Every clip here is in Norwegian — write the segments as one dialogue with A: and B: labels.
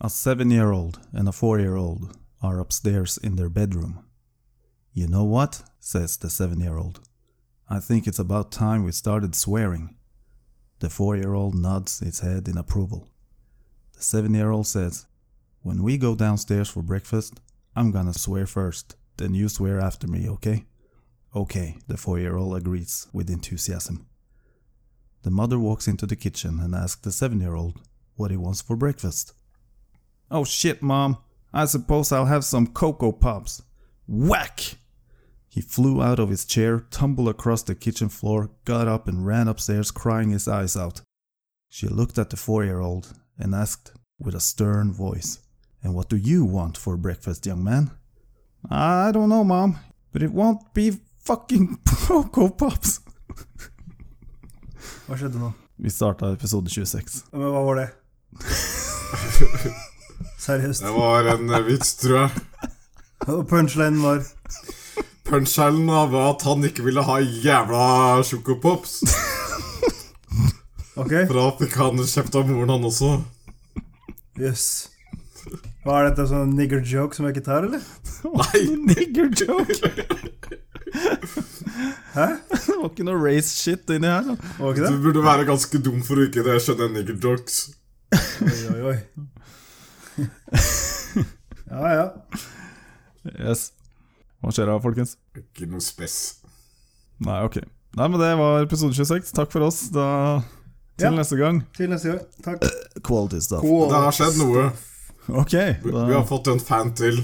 A: A seven year old and a four year old are upstairs in their bedroom. You know what? says the seven year old. I think it's about time we started swearing. The four year old nods its head in approval. The seven year old says, When we go downstairs for breakfast, I'm gonna swear first, then you swear after me, okay? Okay, the four year old agrees with enthusiasm. The mother walks into the kitchen and asks the seven year old what he wants for breakfast. Oh shit, mom, I suppose I'll have some Cocoa Pops. Whack! He flew out of his chair, tumbled across the kitchen floor, got up, and ran upstairs crying his eyes out. She looked at the four year old and asked with a stern voice, And what do you want for breakfast, young man? I don't know, Mom, but it won't be fucking Coco Pops.
B: Hva skjedde nå?
A: Vi starta episode 26.
B: Men hva var det? Seriøst.
C: Det var en eh, vits, tror jeg.
B: Og punchlinen var
C: Punchlinen var at han ikke ville ha jævla sjokopops.
B: Ok,
C: Bra fikk han kjeft av moren, han også.
B: jøss. Hva er dette, sånn nigger joke som jeg ikke tar, eller?
C: Nei.
A: Nigger joke!
B: Hæ?
A: Det var ikke noe race shit inni her.
B: Var ikke
C: Du
B: det?
C: burde være ganske dum for å ikke det skjønne nigger jokes.
B: Oi, oi, oi. Ja, ja.
A: Yes. Hva skjer da, folkens?
C: Ikke noe spess.
A: Nei, ok. Nei, men Det var episode 26. Takk for oss. Da til
B: Ja.
A: neste gang.
B: Til neste gang. Takk.
A: Quality stuff.
C: Det har skjedd noe.
A: Ok.
C: Vi,
A: Da,
C: vi har fått en fan til.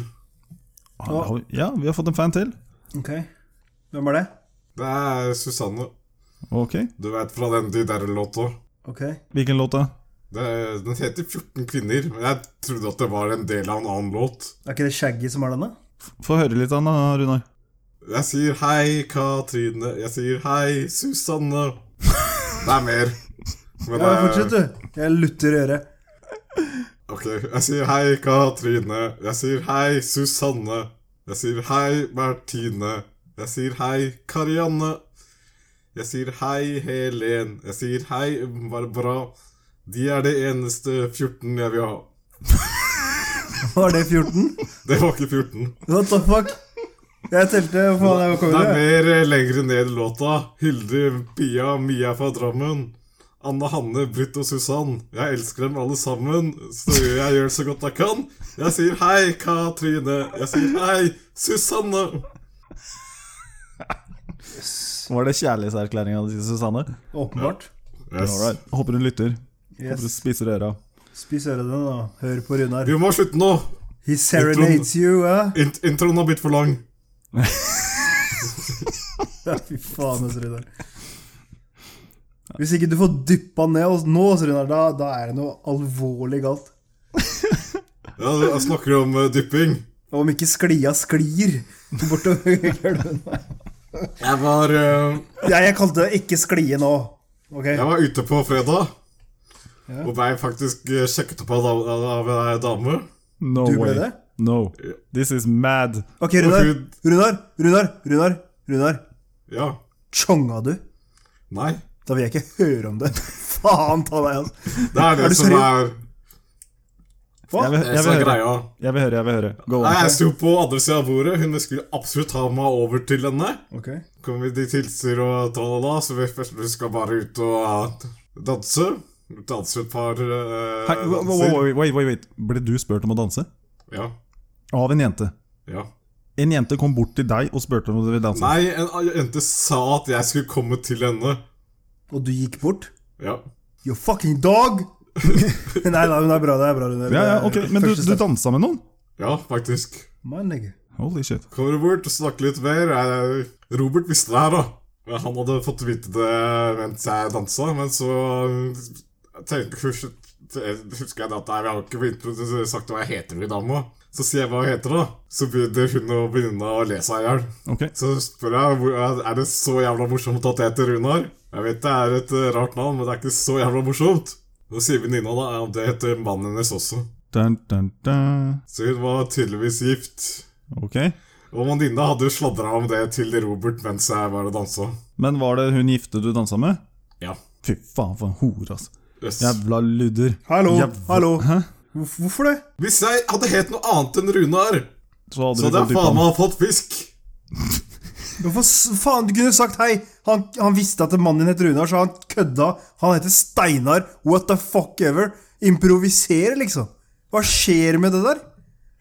A: har vi- ja, vi har fått en fan til.
B: Ok. Hvem er det?
C: Det er Susanne.
A: Ok.
C: Du vet fra den de der låta.
B: Ok.
A: Hvilken låt da?
C: Det, den heter 14 kvinner, men jeg trodde at det var en del av en annen låt.
B: Er ikke det Shaggy som er denne?
A: Få høre litt av den, da, Runar.
C: Jeg sier hei, Katrine. Jeg sier hei, Susanne. Det er mer. Men
B: Ja,
C: det er-
B: fortsett, du. Jeg lutter i øret.
C: Ok, jeg sier hei, Katrine. Jeg sier hei, Susanne. Jeg sier hei, Martine. Jeg sier hei, Karianne. Jeg sier hei, Helen. Jeg sier hei, Barbara. De er det eneste 14 jeg vil ha.
B: Var det 14?
C: Det var ikke 14.
B: What the fuck? Jeg telte hvor faen jeg var
C: Det er
B: kommet til.
C: mer eh, lengre ned i låta. Hilde, Pia, Mia fra Drammen. Anne Hanne, Britt og Susann. Jeg elsker dem alle sammen, så jeg gjør så godt jeg kan. Jeg sier hei, Katrine. Jeg sier hei, Susanne.
A: Var det kjærlighetserklæringa til Susanne?
B: Åpenbart.
C: Yes.
A: All right. Håper hun lytter. Håper hun
B: Yes.
A: spiser øra.
B: Spis øret ditt, da. Hør på Runar.
C: Vi må slutte nå.
B: He serenades you, eh?
C: Int introen har blitt for lang.
B: Ja, fy faen, ass, Runar. Hvis ikke du får dyppa ned oss nå, ass, Runar, da, da er det noe alvorlig galt.
C: Ja, jeg snakker om eh, dypping.
B: Om ikke sklia sklir bortover gulvet.
C: Jeg var, eh,
B: Jeg, jeg kalte det 'ikke sklie' nå. Ok?
C: jeg var ute på fredag.
B: Ja.
C: Og ble faktisk eh, sjekket opp av, da- av ei dame.
A: No
B: Du
A: way.
B: ble det?
A: No. This is mad.
B: Ok, Runar.
C: Og hun-
B: Runar, Runar, Runar. Runar.
C: Ja.
B: Tjonga du?
C: Nei.
B: Da vil jeg ikke høre om det. Faen ta deg, altså.
C: Det er det
B: Er du
C: som er,
A: Jeg vil,
C: det
A: jeg
C: som
A: vil
C: er
A: høre.
C: Eh, greia.
A: Jeg vil høre. jeg vil høre Go
C: Nei,
A: on.
C: jeg sto på andre sida av bordet. Hun skulle absolutt ha meg over til henne.
B: Ok.
C: Kommer de tilsier og tralala, så vi først vi skal bare ut og eh, danse. Danse et par eh,
A: Hei, wa- wa- wa-
C: danser.
A: wait, wait, wait, wait. Ble du spurt om å danse?
C: Ja.
A: Av en jente.
C: Ja.
A: En jente kom bort til deg og spurte om du ville danse.
C: Nei, en en jente sa at jeg skulle komme til henne.
B: Og du gikk bort?
C: Ja.
B: You fucking dog! Nei da, hun er bra. Det er bra, Runar.
A: Ja, ja, ok, Men du,
B: Første
A: du
B: step.
A: dansa med noen?
C: Ja, faktisk.
B: Man, nigga.
A: Holy shit.
C: Kommer du bort og snakker litt mer? Jeg- Robert visste det her, da. Men Han hadde fått vite det mens jeg dansa, men så jeg tenkte først- husker jeg det at jeg har ikke intro- sagt hva jeg heter til dama. Så sier jeg hva jeg heter, da. Så begynner hun å begynne å le seg i hjel.
A: Ok,
C: Så spør jeg hvor- er det så jævla morsomt at jeg heter Runar. Jeg vet det er et eh, rart navn, men det er ikke så jævla morsomt. Så sier venninna da at det heter mannen hennes også.
A: dun, dun, dun.
C: Så hun var tydeligvis gift.
A: ok
C: Og Mandina hadde jo sladra om det til Robert mens jeg var og dansa.
A: Men var det hun gifte du dansa med?
C: Ja.
A: Fy faen, for en hore, altså.
C: Yes.
A: Jævla ludder.
B: Hallo,
A: Jævla-
B: hallo.
A: Hæ?
B: Hvorf- Hvorfor det?
C: Hvis jeg hadde het noe annet enn Runar,
A: Så hadde
C: så
A: du
C: hadde
A: gått
C: jeg
A: i
C: faen
A: pann.
C: meg fått fisk.
B: Hvorfor s- faen? Du kunne sagt hei. Han, han visste at mannen din het Runar, så han kødda. Han heter Steinar. What the fuck ever? Improvisere, liksom. Hva skjer med det der?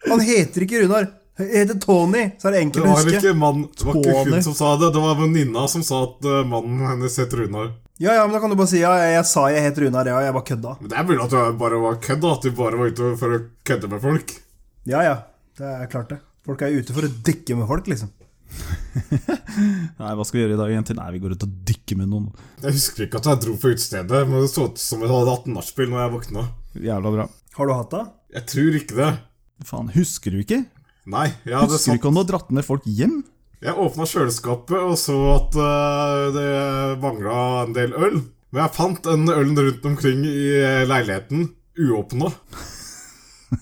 B: Han heter ikke Runar. Han heter Tony, så er det
C: Det
B: enkelt å
C: var
B: huske.
C: ikke, mann, det var ikke
B: Tony.
C: hun som sa det, det var venninna som sa at eh, mannen hennes het Runar.
B: Ja, ja, men da kan du bare si ja, jeg, jeg sa jeg het Runar, ja, jeg bare kødda.
C: Men Det er mulig at du bare var kødd, da, at du bare var ute for å kødde med folk.
B: Ja, ja. Det er klart, det. Folk er ute for å dykke med folk, liksom.
A: Nei, hva skal vi gjøre i dag igjen til? Nei, vi går ut og dykker med noen.
C: Jeg husker ikke at jeg dro på utestedet, men det så ut som jeg hadde hatt nachspiel når jeg våkna.
A: Jævla bra.
B: Har du hatt det?
C: Jeg tror ikke det.
A: Faen, husker du ikke?
C: Nei, jeg hadde
A: Husker du
C: satt
A: ikke om du har dratt ned folk hjem?
C: Jeg åpna kjøleskapet og så at eh, det mangla en del øl. Men jeg fant den ølen rundt omkring i eh, leiligheten, uåpna.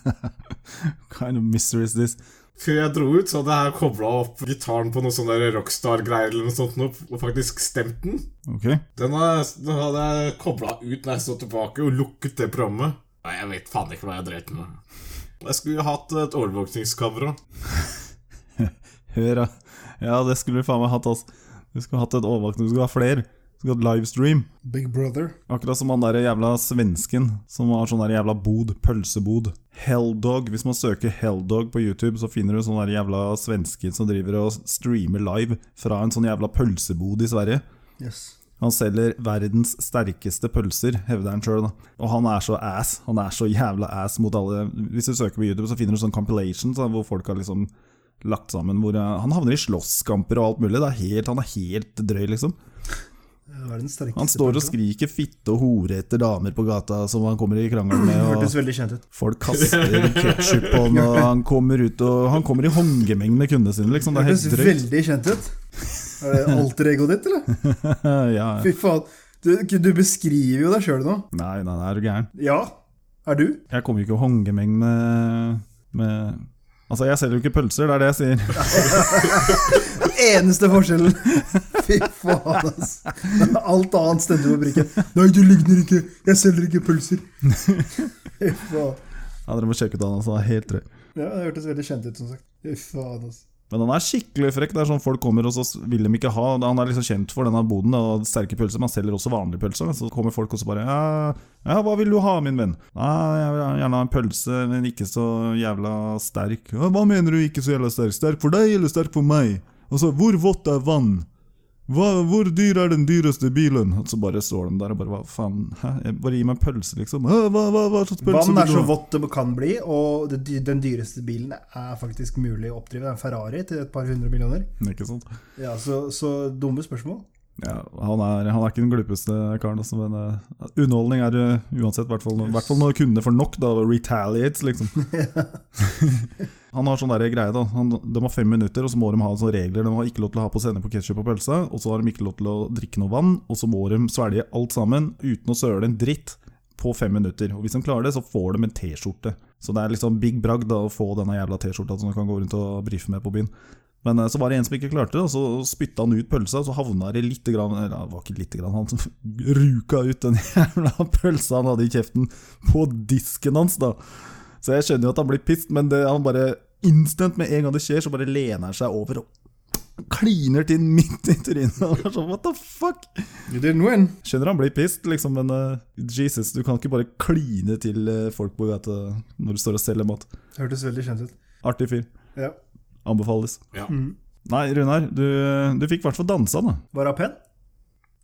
A: What kind of mystery is this?
C: Før jeg dro ut, så hadde jeg kobla opp gitaren på noe sånn der rockstar-greier eller noe sånt, nå, og faktisk stemt den.
A: Ok.
C: Den har- den hadde jeg kobla ut når jeg så tilbake, og lukket det programmet. Nei, jeg vet faen ikke hva jeg drev med. Jeg skulle jo hatt et overvåkningskamera.
A: Hør, ja. Ja, det skulle du faen meg hatt, altså. Du skulle hatt et overvåkning, du skulle ha flere. Du skulle hatt livestream.
B: Big Brother.
A: Akkurat som han der jævla svensken som har sånn der jævla bod, pølsebod. Helldog. Hvis man søker Helldog på YouTube, så finner du sånn der jævla svensken som driver og streamer live fra en sånn jævla pølsebod i Sverige.
B: Yes.
A: Han selger verdens sterkeste pølser, hevder han sjøl. Og han er så ass. Han er så jævla ass mot alle Hvis du søker på YouTube, så finner du sånn compilation så, hvor folk har liksom lagt sammen hvor eh, Han havner i slåsskamper og alt mulig. Det er helt, han er helt drøy, liksom.
B: Verdens sterkeste.
A: Han står og
B: person.
A: skriker fitte og hore etter damer på gata som han kommer i krangel med.
B: Hørtes
A: Og
B: veldig kjent ut.
A: folk kaster ketsjup på han, og han kommer ut og Han kommer i håndgemeng med kundene sine, liksom. Det er
B: Hørtes
A: helt drøyt.
B: veldig kjent ut. Er det alter egoet ditt, eller?
A: Eh, Ja.
B: Fy faen. Du, du beskriver jo deg sjøl nå.
A: Nei, nei, nei, er du gæren?
B: Ja. Er du?
A: Jeg kommer jo ikke i håndgemeng med, med Altså, jeg selger jo ikke pølser, det er det jeg sier.
B: Eneste forskjellen. Fy faen, ass. Alt annet stender på brikken. Nei, du ligner ikke. Jeg selger ikke pølser. Fy faen.
A: Ja, Dere må sjekke ut han, altså. han er Helt drøy.
B: Ja, det hørtes veldig kjent ut, som sagt. Fy faen, ass.
A: Men han er skikkelig frekk. Det er sånn folk kommer, og så vil de ikke ha Han er liksom kjent for denne boden og sterke pølser, men han selger også vanlige pølser. Så kommer folk og så bare ja, ja, hva vil du ha, min venn? Nei, jeg vil gjerne ha en pølse, men ikke så jævla sterk. «Ja, Hva mener du ikke så jævla sterk? Sterk for deg, eller sterk for meg? Og så, hvor vått er vann? Hva, hvor dyr er den dyreste bilen? Og så bare står de der og bare hva faen? Hæ? Jeg bare gi meg en pølse, liksom. Hæ, hva, hva, hva slags pølse
B: Vann er
A: vil du
B: så
A: ha?
B: vått det kan bli, og det dy- den dyreste bilen er faktisk mulig å oppdrive. Det er en Ferrari til et par hundre millioner.
A: Ikke sant?
B: Ja, Så, så dumme spørsmål.
A: Ja, han er, han er ikke den glupeste karen, altså, men eh, underholdning er det uansett. I hvert fall når- hvert fall når kundene får nok, da. og Retaliates, liksom. han har sånn der greie, da. Han, de har fem minutter, og så må de ha sånne regler. De har ikke lov til å ha på sennep og ketsjup og pølse, og så har de ikke lov til å drikke noe vann, og så må de svelge alt sammen uten å søle en dritt på fem minutter. Og hvis de klarer det, så får de en T-skjorte. Så det er liksom big bragd da, å få denne jævla T-skjorta som du kan gå rundt og brife med på byen. Men eh, så var det en som ikke klarte det, og så spytta han ut pølsa, og så havna det lite grann Eller det var ikke lite grann, han ruka ut den jævla pølsa han hadde i kjeften, på disken hans, da. Så jeg skjønner jo at han blir pissed, men det, han bare instant, med en gang det skjer, så bare lener han seg over og kliner til midt i trynet. Han er sånn, what the fuck?
B: You didn't win.
A: Skjønner han blir pissed, liksom, men eh, Jesus, du kan ikke bare kline til eh, folk på gata når du står og selger mat.
B: Hørtes veldig kjent ut.
A: Artig fyr.
B: Ja.
A: Anbefales.
C: Ja.
A: Nei, Runar, du, eh, du fikk i hvert fall dansa, da.
B: Var hun pen?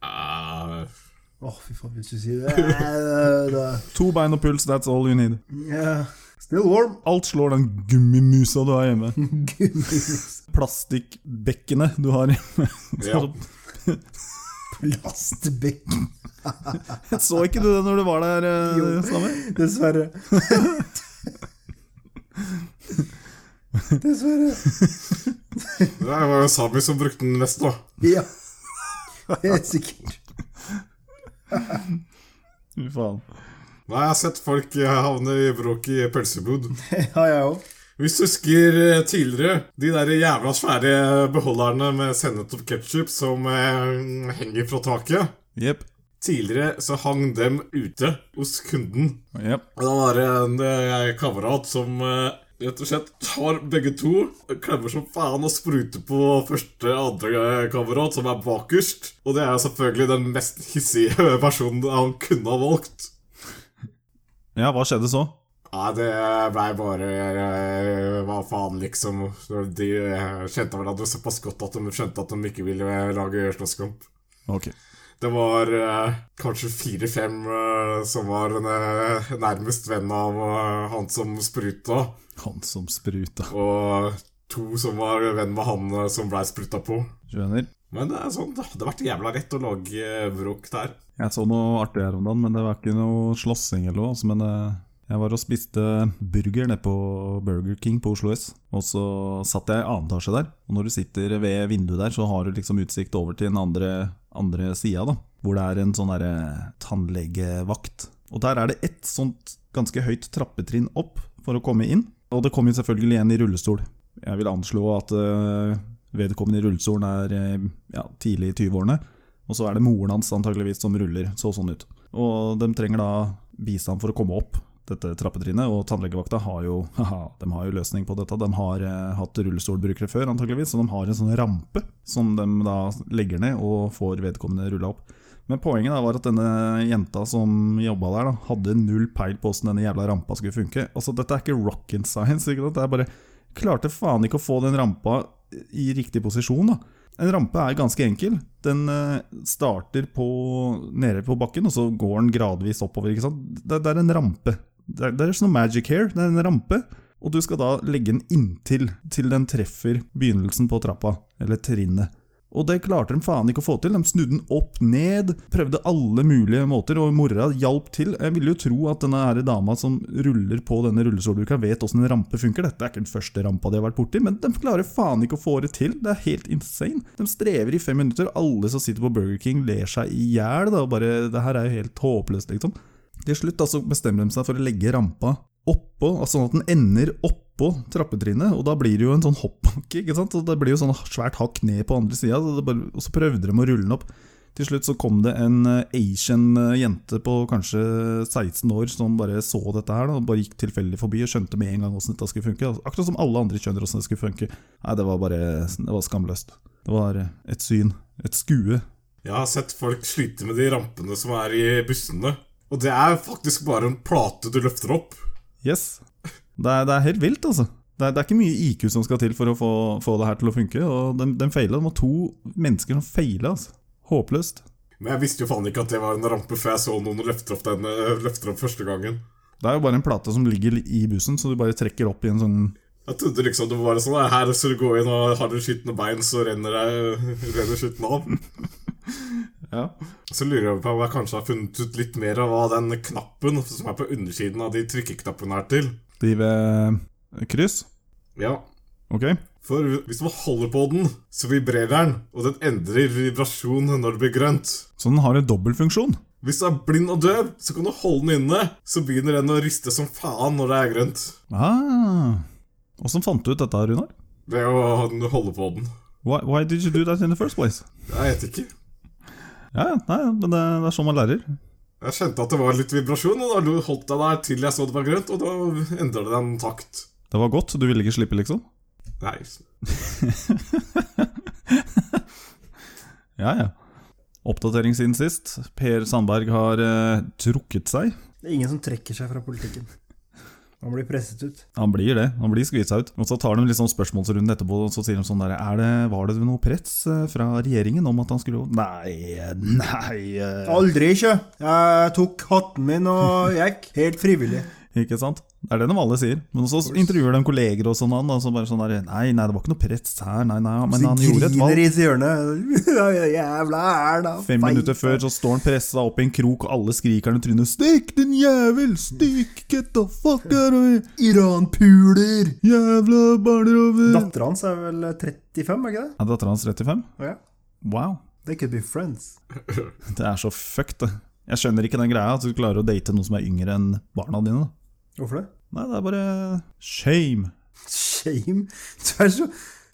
C: Eh,
B: Åh, fy faen, hvis du sier det Eh, da-
A: To bein og puls, that's all you need.
B: Ja. Still warm.
A: Alt slår den gummimusa du har hjemme.
B: Gummis.
A: Plastikkbekkenet du har hjemme.
C: ja.
B: Plastbekk.
A: Så ikke du det når du var der, eh,
B: Jo.
A: Samer?
B: Dessverre. Dessverre.
C: Det var jo Sami som brukte den mest, da.
B: Ja. Helt sikkert.
A: Fy faen.
C: Nei, jeg har sett folk eh, havne i bråk i pølsebod.
B: Ja, jeg òg.
C: Hvis du husker eh, tidligere, de der jævla svære beholderne med sennep og ketsjup som eh, henger fra taket
A: Jepp.
C: Tidligere så hang dem ute hos kunden.
A: Yep.
C: Og da var det en eh, kamerat som eh, rett og slett tar begge to, klemmer som faen og spruter på første andre eh, kamerat, som er bakerst. Og det er selvfølgelig den mest hissige personen han kunne ha valgt.
A: Ja, hva skjedde så?
C: Nei, det blei bare eh, Hva faen, liksom. De eh, kjente hverandre såpass godt at de skjønte at de ikke ville lage slåsskamp.
A: Ok.
C: Det var eh, kanskje fire-fem eh, som var en, eh, nærmest venn av eh, han som spruta,
A: Han som spruta.
C: og to som var venn med han eh, som blei spruta på.
A: Skjønner.
C: Men det er sånn, det hadde vært jævla lett å lage eh, bråk der.
A: Jeg så noe artig her om dagen, men det var ikke noe slåssing eller noe. altså, Men eh, jeg var og spiste burger nede på Burger King på Oslo S. Og så satt jeg i annen etasje der. Og når du sitter ved vinduet der, så har du liksom utsikt over til den andre, andre sida, da. Hvor det er en sånn derre tannlegevakt. Og der er det ett sånt ganske høyt trappetrinn opp for å komme inn. Og det kom jo selvfølgelig en i rullestol. Jeg vil anslå at eh, vedkommende i rullestolen er eh, ja, tidlig i 20-årene. Og så er det moren hans antageligvis som ruller, så sånn ut. Og de trenger da bistand for å komme opp dette trappetrinnet, og tannlegevakta har jo, haha, de har jo løsning på dette. De har eh, hatt rullestolbrukere før, antageligvis, så de har en sånn rampe som de da legger ned og får vedkommende rulla opp. Men poenget da var at denne jenta som jobba der, da, hadde null peil på åssen denne jævla rampa skulle funke. Altså, dette er ikke rocket science, ikke sant? Det er bare Klarte faen ikke å få den rampa i riktig posisjon, da. En rampe er ganske enkel. Den eh, starter på, nede på bakken, og så går den gradvis oppover. ikke sant? Det, det er en rampe. Det er, det er ikke noe magic here, det er en rampe. Og du skal da legge den inntil til den treffer begynnelsen på trappa, eller trinnet. Og det klarte de faen ikke å få til. De snudde den opp ned, prøvde alle mulige måter, og mora hjalp til. Jeg ville jo tro at denne her dama som ruller på denne rullestolbruka, vet åssen en rampe funker. Dette er ikke den første rampa de har vært borti, men de klarer faen ikke å få det til. Det er helt insane. De strever i fem minutter. Alle som sitter på Burger King, ler seg i hjel. da, og bare, Det her er jo helt håpløst, liksom. Til slutt da, så bestemmer de seg for å legge rampa oppå, altså sånn at den ender oppå trappetrinnet, og da blir det jo en sånn hoppbakke, ikke sant? Og det blir jo sånn svært hakk ned på andre sida, og så prøvde de å rulle den opp. Til slutt så kom det en eh, Asian eh, jente på kanskje 16 år som bare så dette her, da, og bare gikk tilfeldig forbi og skjønte med en gang åssen dette skulle funke. Altså, Akkurat som alle andre skjønner åssen det skulle funke. Nei, det var bare det var skamløst. Det var eh, et syn. Et skue.
C: Jeg har sett folk slite med de rampene som er i bussene. Og det er faktisk bare en plate du løfter opp.
A: Yes. Det er, det er helt vilt, altså. Det er, det er ikke mye IQ som skal til for å få, få det her til å funke, og den, den feila. Det var to mennesker som feila, altså. Håpløst.
C: Men jeg visste jo faen ikke at det var en rampe før jeg så noen løfter opp, den, eh, løfter opp første gangen.
A: Det er jo bare en plate som ligger i bussen, så du bare trekker opp i en sånn
C: Jeg trodde liksom det var sånn Her skal du gå inn og har du skitne bein, så renner, jeg- renner skitten av.
A: Ja.
C: Så lurer jeg på om jeg kanskje har funnet ut litt mer av hva den knappen som er på undersiden av de trykkeknappene er til.
A: De ved eh, kryss.
C: Ja,
A: Ok.
C: for hvis man holder på den, så vibrerer den, og den endrer vibrasjon når det blir grønt.
A: Så den har en dobbeltfunksjon.
C: Hvis du er blind og døv, så kan du holde den inne, så begynner den å riste som faen når det er grønt.
A: Ah. Åssen fant du ut dette, Runar?
C: Ved å holde på den.
A: Why, why did you do that in the first place?
C: Jeg vet ikke.
A: Ja, ja, nei, men det, det er sånn man lærer.
C: Jeg kjente at det var litt vibrasjon, og da holdt jeg der til jeg så det var grønt, og da endret det en takt.
A: Det var godt, du ville ikke slippe, liksom?
C: Nei,
A: Ja, ja. Oppdatering siden sist. Per Sandberg har eh, trukket seg.
B: Det er ingen som trekker seg fra politikken. Han blir presset ut.
A: Han blir det. Han blir skvisa ut. Og så tar de liksom spørsmålsrunden etterpå, og så sier de sånn der er det, Var det noe press eh, fra regjeringen om at han skulle Nei, eh, nei eh.
B: Aldri ikke! Jeg tok hatten min og gikk. Helt frivillig.
A: Ikke sant? Det er det de alle sier. Men så intervjuer de kolleger og sånn, og så bare sånn der Nei, nei, det var ikke noe press her, nei, nei. Men han gjorde et valg.
B: Griner i et hjørne. Jævla er da
A: Fem minutter før så står han pressa opp i en krok, og alle skriker han i trynet 'Stikk, din jævel! Stikk! Get the fuck out of here!
B: Iran-puler!
A: Jævla barnerover!'
B: Dattera hans er vel 35, er ikke det?
A: Er dattera hans 35?
B: Ja.
A: Wow.
B: They could be friends.
A: Det er så fucked, det. Jeg skjønner ikke den greia at du klarer å date noen som er yngre enn barna dine. da.
B: Hvorfor det?
A: Nei, det er bare shame.
B: Shame? Du er så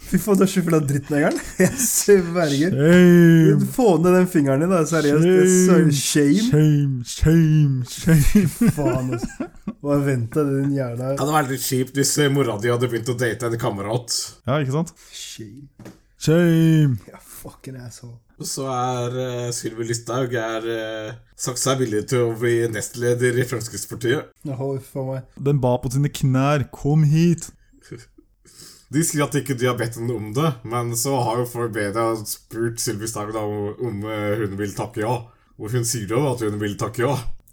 B: Fy faen, du er så full av drittnegeren. Jeg sverger.
A: Shame,
B: Få ned den fingeren din, da. Seriøst. Jeg
A: Shame.
B: sverger. Shame.
A: shame, shame, shame.
B: Faen, altså. Hva venta det din jævla
C: Det hadde vært litt kjipt hvis eh, mora di hadde begynt å date en kamerat.
A: Ja, ikke sant?
B: Shame.
A: Shame.
B: Ja, fucking asshole.
C: Og så er uh, Sylvi Listhaug er, eh, sagt seg villig til å bli nestleder i Fremskrittspartiet.
B: Nå, for meg.
A: Den ba på sine knær. Kom hit.
C: De sier at ikke de har bedt henne om det, men så har jo folk media spurt Sylvi Listhaug da om, om eh, hun vil takke ja. Og hun sier jo at hun vil takke ja.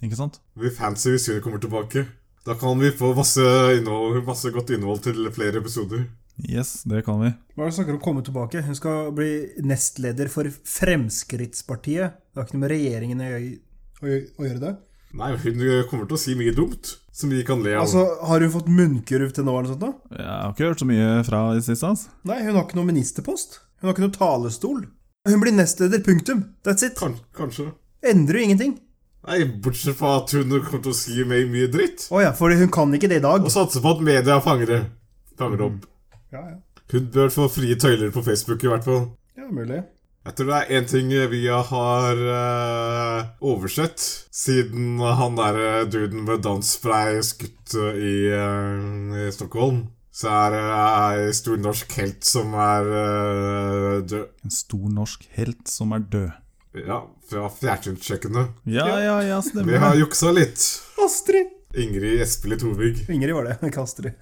A: Ikke sant?
C: Det blir fancy hvis hun kommer tilbake. Da kan vi få masse, innhold, masse godt innhold til flere episoder.
A: Yes, det kan vi.
B: Hva er det du snakker om å komme tilbake? Hun skal bli nestleder for Fremskrittspartiet. Det har ikke noe med regjeringen å gjø- å gjø- å gjøre det?
C: Nei, hun kommer til å si mye dumt som vi kan le av.
B: Altså, Har hun fått munnkurv til nå? eller noe sånt da?
A: Jeg har ikke hørt så mye fra i det siste, altså.
B: Nei, hun har ikke noen ministerpost. Hun har ikke noen talerstol. Hun blir nestleder, punktum. That's it.
C: kan, kanskje.
B: Endrer jo ingenting.
C: Nei, bortsett fra at hun kommer til å si meg mye dritt.
B: Å ja, for hun kan ikke det i dag.
C: Og satse på at media fanger det. Fanger det opp.
B: Ja, ja.
C: Hun bør få frie tøyler på Facebook, i hvert fall.
B: Ja, mulig.
C: Jeg tror det er én ting vi har eh, oversett siden han der eh, duden med dans ble skutt eh, i, eh, i Stockholm. Så er det ei stor norsk helt som er eh, død.
A: En stor norsk helt som er død.
C: Ja, fra fjernsynskjøkkenet.
A: Ja, ja, ja,
C: Vi
A: stemmer
C: har
A: det.
C: juksa litt.
B: Astrid!
C: Ingrid Espelid Hovig.
B: Ingrid var det. Ikke Astrid.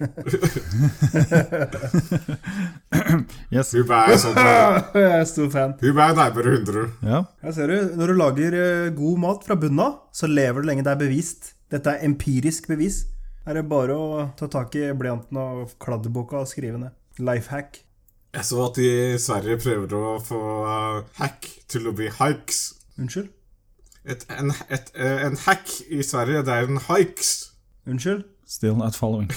A: Yes.
C: Hun ble sånn der-
B: Jeg er stor fan.
C: Hun ble nærmere 100.
A: Ja.
B: Her ser du, Når du lager eh, god mat fra bunnen av, så lever du lenge det er bevist. Dette er empirisk bevis. Her er det bare å ta tak i blyanten og kladdeboka og skrive ned. Lifehack.
C: Jeg så at de i Sverige prøver å få eh, hack til å bli hikes.
B: Unnskyld?
C: Et, en, et, eh, en hack i Sverige, det er en hikes.
B: Unnskyld?
A: Still not following.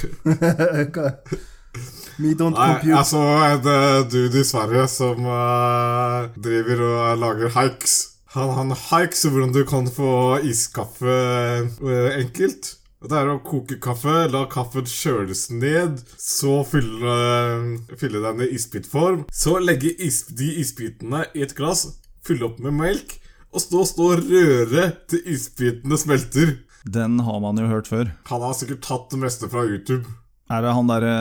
B: Me don't
C: Nei,
B: compute.
C: jeg så en eh, dude i Sverige som eh, driver og lager hikes. Han, han hikes hvordan du kan få iskaffe eh, enkelt. Det er å koke kaffe, la kaffen kjøles ned, så fylle, fylle den i isbitform. Så legge is, de isbitene i et glass, fylle opp med melk, og stå stå og røre til isbitene smelter.
A: Den har man jo hørt før.
C: Han har sikkert tatt det meste fra YouTube.
A: Er det han derre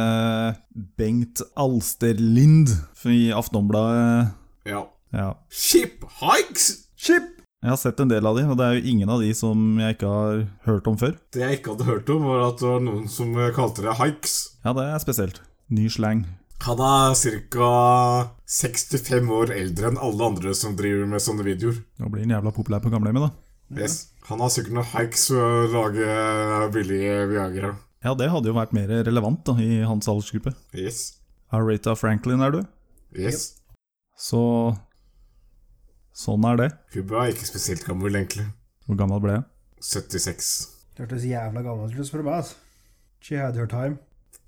A: Bengt Alsterlind i Aftonbladet? eh,
C: Ja.
A: Ja.
C: Ship hikes!
B: Chip!
A: Jeg har sett en del av de, og det er jo ingen av de som jeg ikke har hørt om før.
C: Det jeg ikke hadde hørt om, var at det var noen som kalte det hikes.
A: Ja, det er spesielt. Ny slang.
C: Han er ca. 65 år eldre enn alle andre som driver med sånne videoer.
A: Nå blir den jævla populær på gamlehjemmet, da.
C: Yes. Han har sikkert noen hikes å lage billige Viagra.
A: Ja, det hadde jo vært mer relevant da, i hans aldersgruppe.
C: Yes.
A: Aretha Franklin er du.
C: Yes.
A: Så sånn er det.
C: Hubba er ikke spesielt gammel, egentlig.
A: Hvor gammel ble jeg?
C: 76.
B: Det hørtes jævla gammelt ut, spør du meg. altså. She had her time.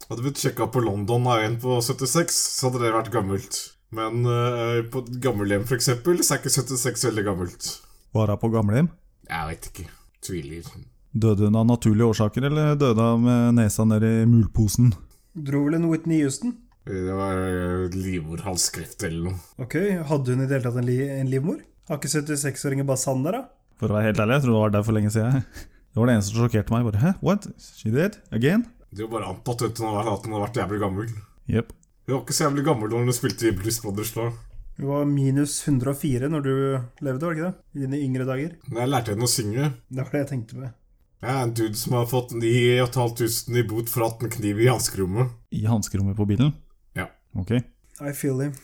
C: Hadde blitt sjekka på London av en på 76, så hadde det vært gammelt. Men eh, på et gammelhjem, for eksempel, så er ikke 76 veldig gammelt.
A: Var hun på gamlehjem?
C: Jeg veit ikke. Tviler.
A: Døde hun av naturlige årsaker, eller døde hun med nesa nedi mulposen?
B: Dro vel en Whitney Houston?
C: Det var eh, livmorhalskreft eller noe.
B: Ok, hadde hun i det hele tatt en, li en livmor? Har ikke 76-åringer bare sand der, da?
A: For å være helt ærlig, jeg tror det var der for lenge siden. Det var det eneste som sjokkerte meg. Bare, Hæ? What? She did? Again?
C: Det er jo bare antatt uten å være at han har vært jævlig gammel.
A: Jepp.
C: Hun var ikke så jævlig gammel da hun spilte i Blues Brothers da.
B: Du var minus 104 når du levde, var det ikke det? I dine yngre dager.
C: Men jeg lærte henne å synge.
B: Det var det jeg tenkte med.
C: Jeg er en dude som har fått 9500 i bot for at en kniv i hanskerommet.
A: I hanskerommet på bilen?
C: Ja.
A: Ok.
B: I feel him.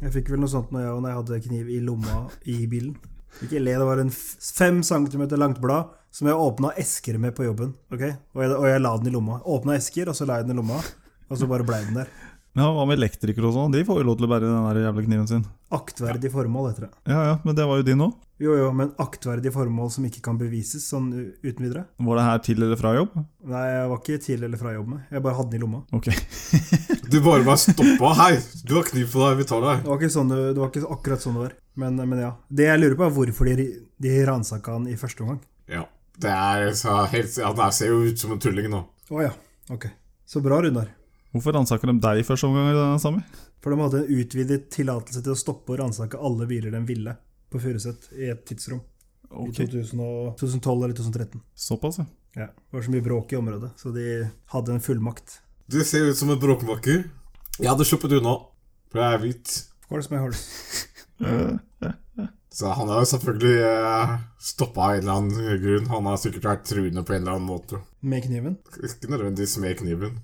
B: Jeg fikk vel noe sånt når jeg, når jeg hadde kniv i lomma i bilen. Ikke le, det var en f- fem centimeter langt blad som jeg åpna esker med på jobben. ok? Og jeg, og jeg la den i lomma. Åpna esker, og så la jeg den i lomma. Og så bare blei den der.
A: Ja, hva med elektrikere og sånn? De får jo lov til å bære den der jævla kniven sin.
B: Aktverdig formål, heter det.
A: Ja ja, men det var jo din òg.
B: Jo jo, men aktverdig formål som ikke kan bevises sånn u- uten videre.
A: Var det her til eller fra jobb?
B: Nei, jeg var ikke til eller fra jobb med. Jeg bare hadde den i lomma.
A: Ok.
C: Du bare var stoppa. Hei, du har kniv på deg, vi tar deg.
B: Det var ikke, sånn, det det var ikke akkurat sånn det var. Men, men ja. Det jeg lurer på, er hvorfor de, ri- de ransaka han i første omgang.
C: Ja. Det er så helt, ja, det ser jo ut som en tulling nå.
B: Å ja. Ok. Så bra, Runar.
A: Hvorfor ransaker de deg i første omgang, Sami?
B: For de hadde en utvidet tillatelse til å stoppe og ransake alle biler de ville på Furuset i et tidsrom. I
A: Ok,
B: 2000 og- 2012 eller 2013.
A: såpass, ja.
B: Ja. Det var så mye bråk i området, så de hadde en fullmakt.
C: Du ser ut som en bråkmaker. Jeg hadde sluppet unna, for jeg er hvit.
B: Horse my horse.
A: Eh,
C: Så han er jo selvfølgelig eh, stoppa av en eller annen grunn. Han har sikkert vært truende på en eller annen måte.
B: Med kniven.
C: Ikke nødvendigvis med kniven.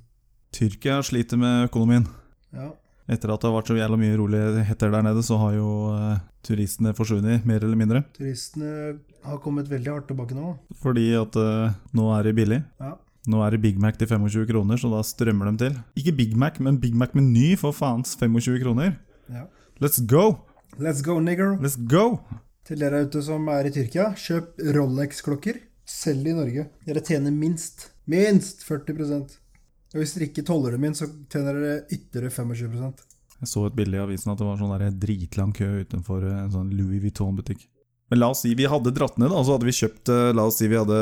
A: Tyrkia sliter med økonomien.
B: Ja.
A: Etter at det har vært så jævla mye uroligheter der nede, så har jo eh, turistene forsvunnet, mer eller mindre.
B: Turistene har kommet veldig hardt tilbake nå.
A: Fordi at eh, nå er det billig.
B: Ja.
A: Nå er det Big Mac til 25 kroner, så da strømmer de til. Ikke Big Mac, men Big Mac-meny for faens 25 kroner.
B: ja.
A: Let's go!
B: Let's go, nigger.
A: Let's go!
B: Til dere ute som er i Tyrkia, kjøp Rolex-klokker. Selg i Norge. Dere tjener minst. Minst 40 Og hvis dere ikke toller dem inn, så tjener dere ytterligere 25
A: Jeg så et bilde i avisen at det var sånn der dritlang kø utenfor en sånn Louis Vuitton-butikk. Men la oss si vi hadde dratt ned, da, så hadde vi kjøpt eh, La oss si vi hadde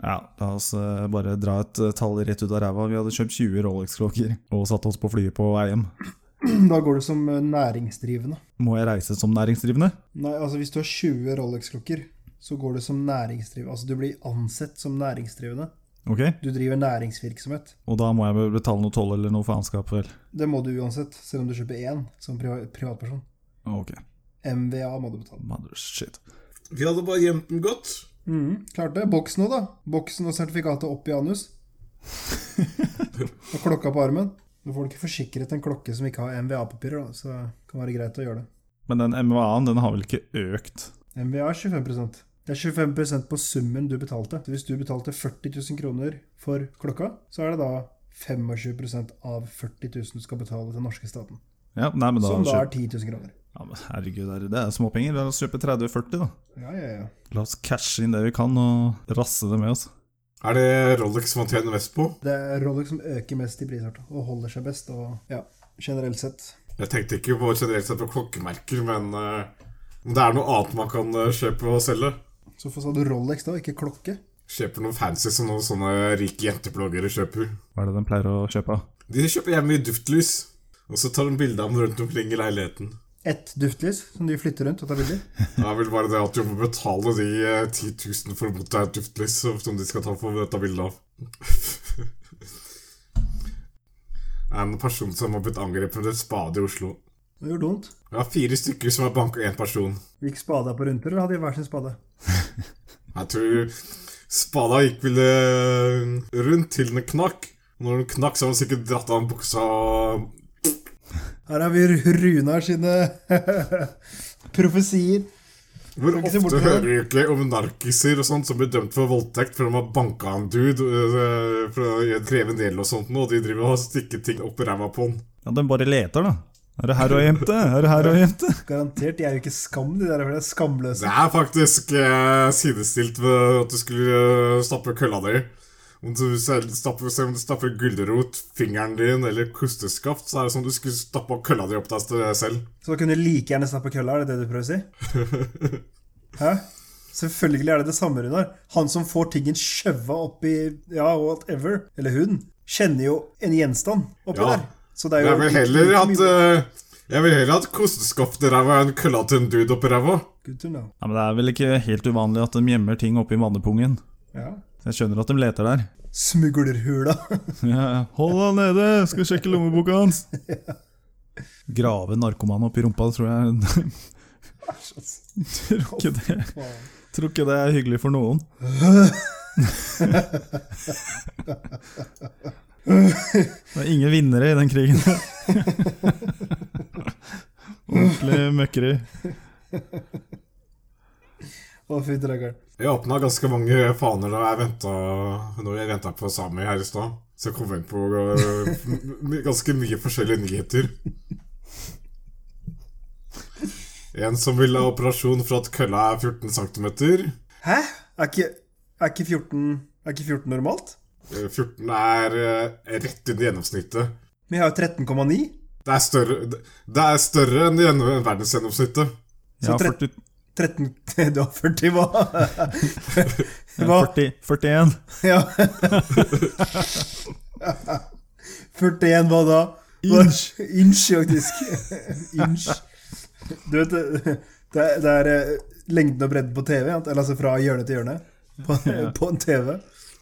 A: Ja, la oss eh, bare dra et eh, tall rett ut av ræva. Vi hadde kjøpt 20 Rolex-klokker og satt oss på flyet på vei hjem.
B: Da går du som eh, næringsdrivende.
A: Må jeg reise som næringsdrivende?
B: Nei, altså Hvis du har 20 Rolex-klokker, så går du som næringsdrivende. Altså Du blir ansett som næringsdrivende.
A: Ok,
B: Du driver næringsvirksomhet.
A: Og da må jeg vel betale noe toll eller noe faenskap, vel?
B: Det må du uansett, selv om du kjøper én som priva- privatperson.
A: Ok,
B: MVA må du betale.
A: mother shit.
C: Vi hadde bare gjemt den godt.
B: Mm, klart det. Boks nå, da. Boksen og sertifikatet opp i anus. og klokka på armen. Nå får du ikke forsikret en klokke som ikke har MVA-papirer, da, så det kan være greit å gjøre det.
A: Men den MVA-en, den har vel ikke økt?
B: MVA er 25 Det er 25 på summen du betalte. Så hvis du betalte 40 000 kroner for klokka, så er det da 25 av 40 000 du skal betale til norske staten.
A: Ja, nei, men da,
B: Som da
A: kjøp-
B: er 10 000 kroner.
A: ja, men Herregud, det er- det er småpenger. La oss kjøpe 30-40, da.
B: Ja, ja, ja.
A: La oss cashe inn det vi kan, og rasse det med oss.
C: Er det Rolex man tjener mest på?
B: Det er Rolex som øker mest i prisart, og holder seg best, og ja, generelt sett.
C: Jeg tenkte ikke på generelt sett på klokkemerker, men eh, om det er noe annet man kan eh, kjøpe og selge.
B: Så hvorfor sa du Rolex da, ikke klokke?
C: Kjøper noe fancy som noen sånne rike jentebloggere kjøper.
A: Hva er det den pleier å kjøpe? av?
C: De kjøper hjemme i duftlys, og så tar de bilde av dem rundt omkring i leiligheten.
B: Ett duftlys som de flytter rundt og tar bilder.
C: Det er vel bare det at du må betale de eh, 10 000 for å motta et duftlys som de skal ta for å ta bilde av. En person som har blitt angrepet med en spade i Oslo.
B: Det gjorde vondt.
C: Jeg har fire stykker som har banka én person.
B: Gikk spada på rundtur, eller hadde de hver sin spade?
C: Jeg tror spada gikk vel eh, rundt til den knakk. Og når den knakk, så har den sikkert dratt av den buksa og
B: Her har vi Runar sine profesier.
C: Hvor
B: Kan ikke se
C: ofte
B: bort fra
C: hører
B: det.
C: vi ikke om narkiser og sånt som blir dømt for voldtekt for de har banka en dude øh, for å kreve en del og sånt, og de driver og stikker ting opp i ræva på han.
A: Ja, den bare leter, da. Er det her og jente? Er det her og jente?
B: Garantert, de er jo ikke skam, de der, for de er skamløse.
C: Det er faktisk eh, sidestilt ved at du skulle eh, stappe kølla di. Om du selv stapper, selv om du stapper gulrot, fingeren din eller kosteskaft, så er det som om du skulle stappa kølla di opp deg selv.
B: Så da kunne de like gjerne snappe kølla, er det det du prøver å si? Hæ? Selvfølgelig er det det samme, Runar. Han som får tingen skjøva oppi ja, whatever, eller hun, kjenner jo en gjenstand oppi
C: Ja.
B: der. Så det er jo
C: Jeg vil heller hatt eh, jeg vil heller hatt kosteskaft i ræva enn kølla til en dude oppi ræva.
B: Good to know.
A: Ja, men Det er vel ikke helt uvanlig at de gjemmer ting oppi vannepungen.
B: Ja.
A: Jeg skjønner at de leter der.
B: Smuglerhula.
A: Ja, ja. Hold han nede, skal sjekke lommeboka hans! Grave narkomane oppi rumpa, tror jeg Tror ikke det Tror ikke det er hyggelig for noen. Det er ingen vinnere i den krigen. Ordentlig møkkeri.
B: Å, fy drakkeren.
C: Jeg åpna ganske mange faner da jeg ventet- når jeg venta på Sami her i stad. Så jeg kom inn på øh, m- ganske mye forskjellige nyheter. En som vil ha operasjon for at kølla er 14 cm.
B: Hæ? Er ikke, er ikke 14 Er ikke 14 normalt?
C: 14 Eh, er øh, rett under gjennomsnittet.
B: Vi har jo 13,9.
C: Det er større, det- det er større enn gjennom- verdensgjennomsnittet.
A: Jeg har
B: Så
A: 40,
B: 13 Du har 40, hva?
A: jeg
B: Hva?
A: har 40, 41.
B: Ja. 41 hva da?
A: Inch.
B: Inch, faktisk. Inch. Du vet, det er, det er eh, lengden og bredden på TV, ja. eller altså fra hjørne til hjørne, på, på en TV.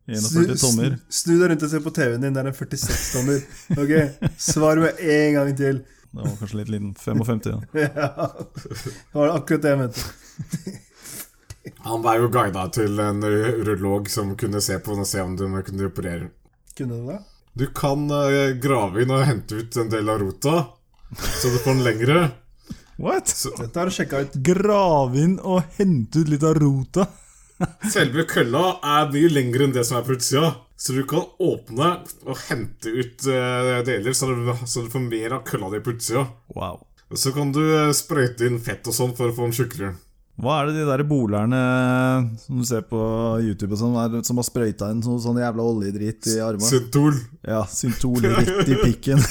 A: 41 tommer.
B: Snu, snu deg rundt og se på TV-en din, der er en 46-tommer. Ok, Svar med en gang til.
A: Det var kanskje litt liten. 55, ja.
B: Ja. Det var akkurat det jeg mente.
C: Han ble jo guida til en urolog som kunne se på den og se om de kunne operere.
B: Kunne du det?
C: Du kan eh, grave inn og hente ut en del av rota, så du får den lengre.
A: What?
C: Så
B: Dette har du sjekka ut.
A: Grave inn og hente ut litt av rota.
C: selve kølla er mye lengre enn det som er på utsida. Så du kan åpne og hente ut eh, deler, så du, så du får mer av kølla di på utsida.
A: Wow.
C: Og Så kan du eh, sprøyte inn fett og sånn for å få den tjukkere.
A: Hva er det de der bolerne eh, som du ser på YouTube og sånn, er- som har sprøyta inn sånn, sånn jævla oljedrit i armene?
C: Sentol.
A: Ja, syntol rett i pikken.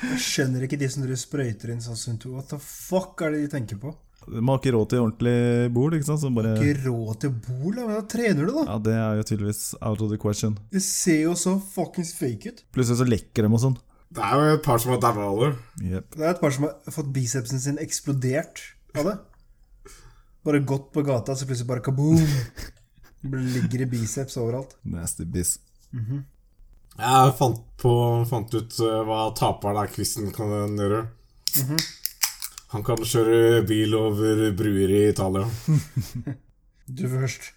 B: Jeg skjønner ikke de som driver sprøyter inn sånn Sunto. What the fuck er det de tenker på?
A: De har ikke råd til ordentlig bol, ikke sant? Så bare,
B: Ikke råd til bol, da, men da trener du, da.
A: ja, det er jo tydeligvis out of the question.
B: Det ser jo så fuckings fake ut.
A: Plutselig så lekker dem og sånn.
C: Det er jo et par som har daua av det.
A: Jep.
B: Det er et par som har fått bicepsen sin eksplodert av det. Bare gått på gata, så plutselig bare kaboom! Bare Ligger i biceps overalt.
A: Nasty biz.
C: Jeg fant, på, fant ut eh, hva taperen av quizen kan gjøre. Han kan kjøre bil over bruer i Italia.
B: Du først.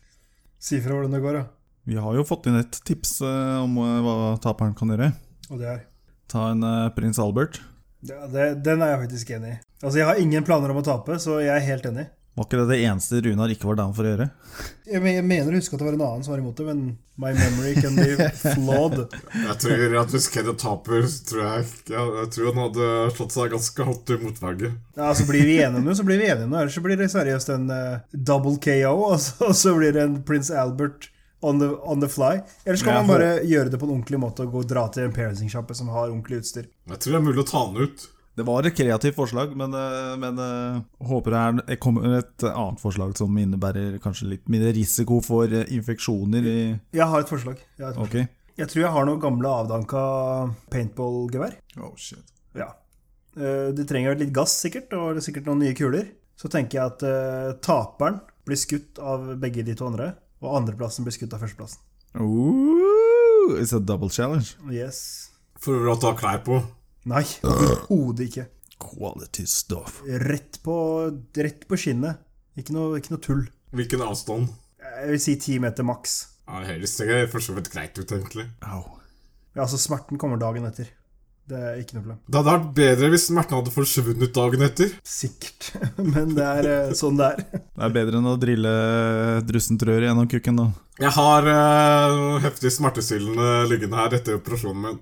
B: Si fra hvordan det går, da.
A: Vi har jo fått inn et tips eh, om eh, hva taperen kan gjøre.
B: Og det er
A: Ta en eh, prins Albert.
B: ja, det, Den er jeg faktisk enig i. Altså, jeg har ingen planer om å tape, så jeg er helt enig.
A: Var ikke det det eneste Runar ikke var down for å gjøre?
B: Jeg, men- jeg mener å huske at det var en annen som var imot det, men my memory can be flawed.
C: Jeg tror at Hvis Kenneth taper, så tror jeg, jeg, jeg tror han hadde slått seg ganske hardt i motverget.
B: Ja, så blir vi enige om noe, så blir vi enige om noe. Ellers så blir det seriøst en eh, double KO, og så, og så blir det en Prince Albert on the, on the fly. Ellers kan
A: Jeg
B: man bare gjøre det på en ordentlig måte og gå og dra til en parenting-sjappe som har ordentlig utstyr.
C: Jeg tror det er mulig å ta han ut.
A: Det var et kreativt forslag, men, eh, men eh, håper det er- det kommer et annet forslag som innebærer kanskje litt mindre risiko for eh, infeksjoner i
B: Jeg har et forslag. Jeg, har et forslag.
A: Ok.
B: jeg tror jeg har noe gamle avdanka paintballgevær.
A: Oh, shit.
B: Ja. Eh, Det trenger litt gass, sikkert, og sikkert noen nye kuler. Så tenker jeg at eh, taperen blir skutt av begge de to andre, og andreplassen blir skutt av førsteplassen.
A: Ooh, it's a double challenge.
B: Yes.
C: For å ta klær på.
B: Nei, overhodet ikke.
A: Quality stuff.
B: Rett på, rett på skinnet. Ikke noe, ikke noe tull.
C: Hvilken avstand?
B: Jeg vil si ti meter maks.
C: Ja, det Høres det for så vidt greit ut, egentlig.
A: Au.
B: Ja, altså smerten kommer dagen etter. Det er ikke noe problem.
C: Det hadde vært bedre hvis smerten hadde forsvunnet dagen etter.
B: Sikkert. Men det er eh, sånn det er.
A: Det er bedre enn å drille drussentrør gjennom kukken, da.
C: Jeg har eh, heftig smertestillende liggende her etter operasjonen min.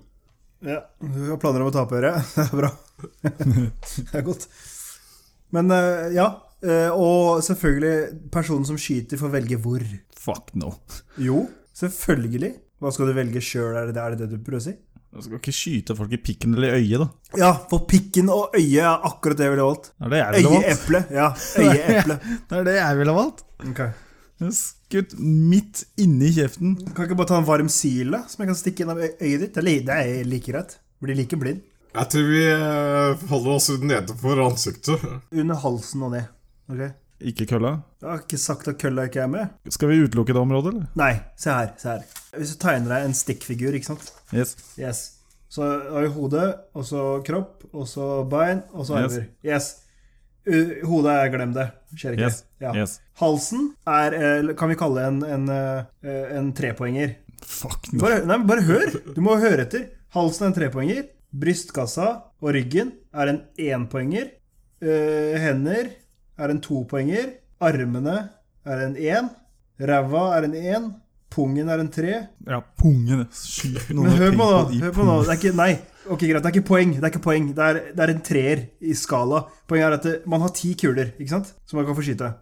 B: Ja, Du har planer om å tape, hører jeg. Det er bra. Det er godt. Men eh, ja. eh, Og selvfølgelig, personen som skyter, får velge hvor.
A: Fuck no.
B: Jo, selvfølgelig. Hva skal du velge sjøl, er det er det det du prøver å si?
A: Du skal ikke skyte folk i pikken eller i øyet, da.
B: Ja, for pikken og øyet er akkurat det jeg ville valgt.
A: Det er det jeg ville valgt.
B: Øyeeple. Ja, øyeeple.
A: Det er det jeg ville valgt.
B: Ok.
A: Jeg er Skutt midt inni kjeften.
B: Kan ikke bare ta en varm sile som jeg kan stikke gjennom øy- øyet ditt? Det er li- Det er like greit. Blir like blind.
C: Jeg tror vi eh, holder oss nede for ansiktet.
B: Under halsen og ned. Ok?
A: Ikke kølla.
B: Jeg har ikke sagt at kølla ikke er med.
A: Skal vi utelukke det området, eller?
B: Nei, se her. se her. Hvis du tegner deg en stikkfigur, ikke sant
A: Yes.
B: Yes. Så har vi hodet, og så kropp, og så bein, og så armer. Yes. U- Hodet er glem det. Skjer ikke.
A: Yes. Yes.
B: Halsen er, eh, kan vi kalle en, en, eh, en trepoenger.
A: Fuck no.
B: Bare, nei, men bare hør! Du må høre etter. Halsen er en trepoenger. Brystkassa og ryggen er en énpoenger. Eh, hender er en topoenger. Armene er en én. Ræva er en én. Pungen er en tre.
A: Ja, pungen. Skyt noen
B: Men
A: med
B: hør på nå!
A: paintball i
B: hør på nå.
A: pungen.
B: Det er ikke, nei, ok, greit. Det er ikke poeng. Det er, ikke poeng. Det er, det er en treer i skala. Poenget er at det, man har ti kuler ikke sant? som man kan få skyte.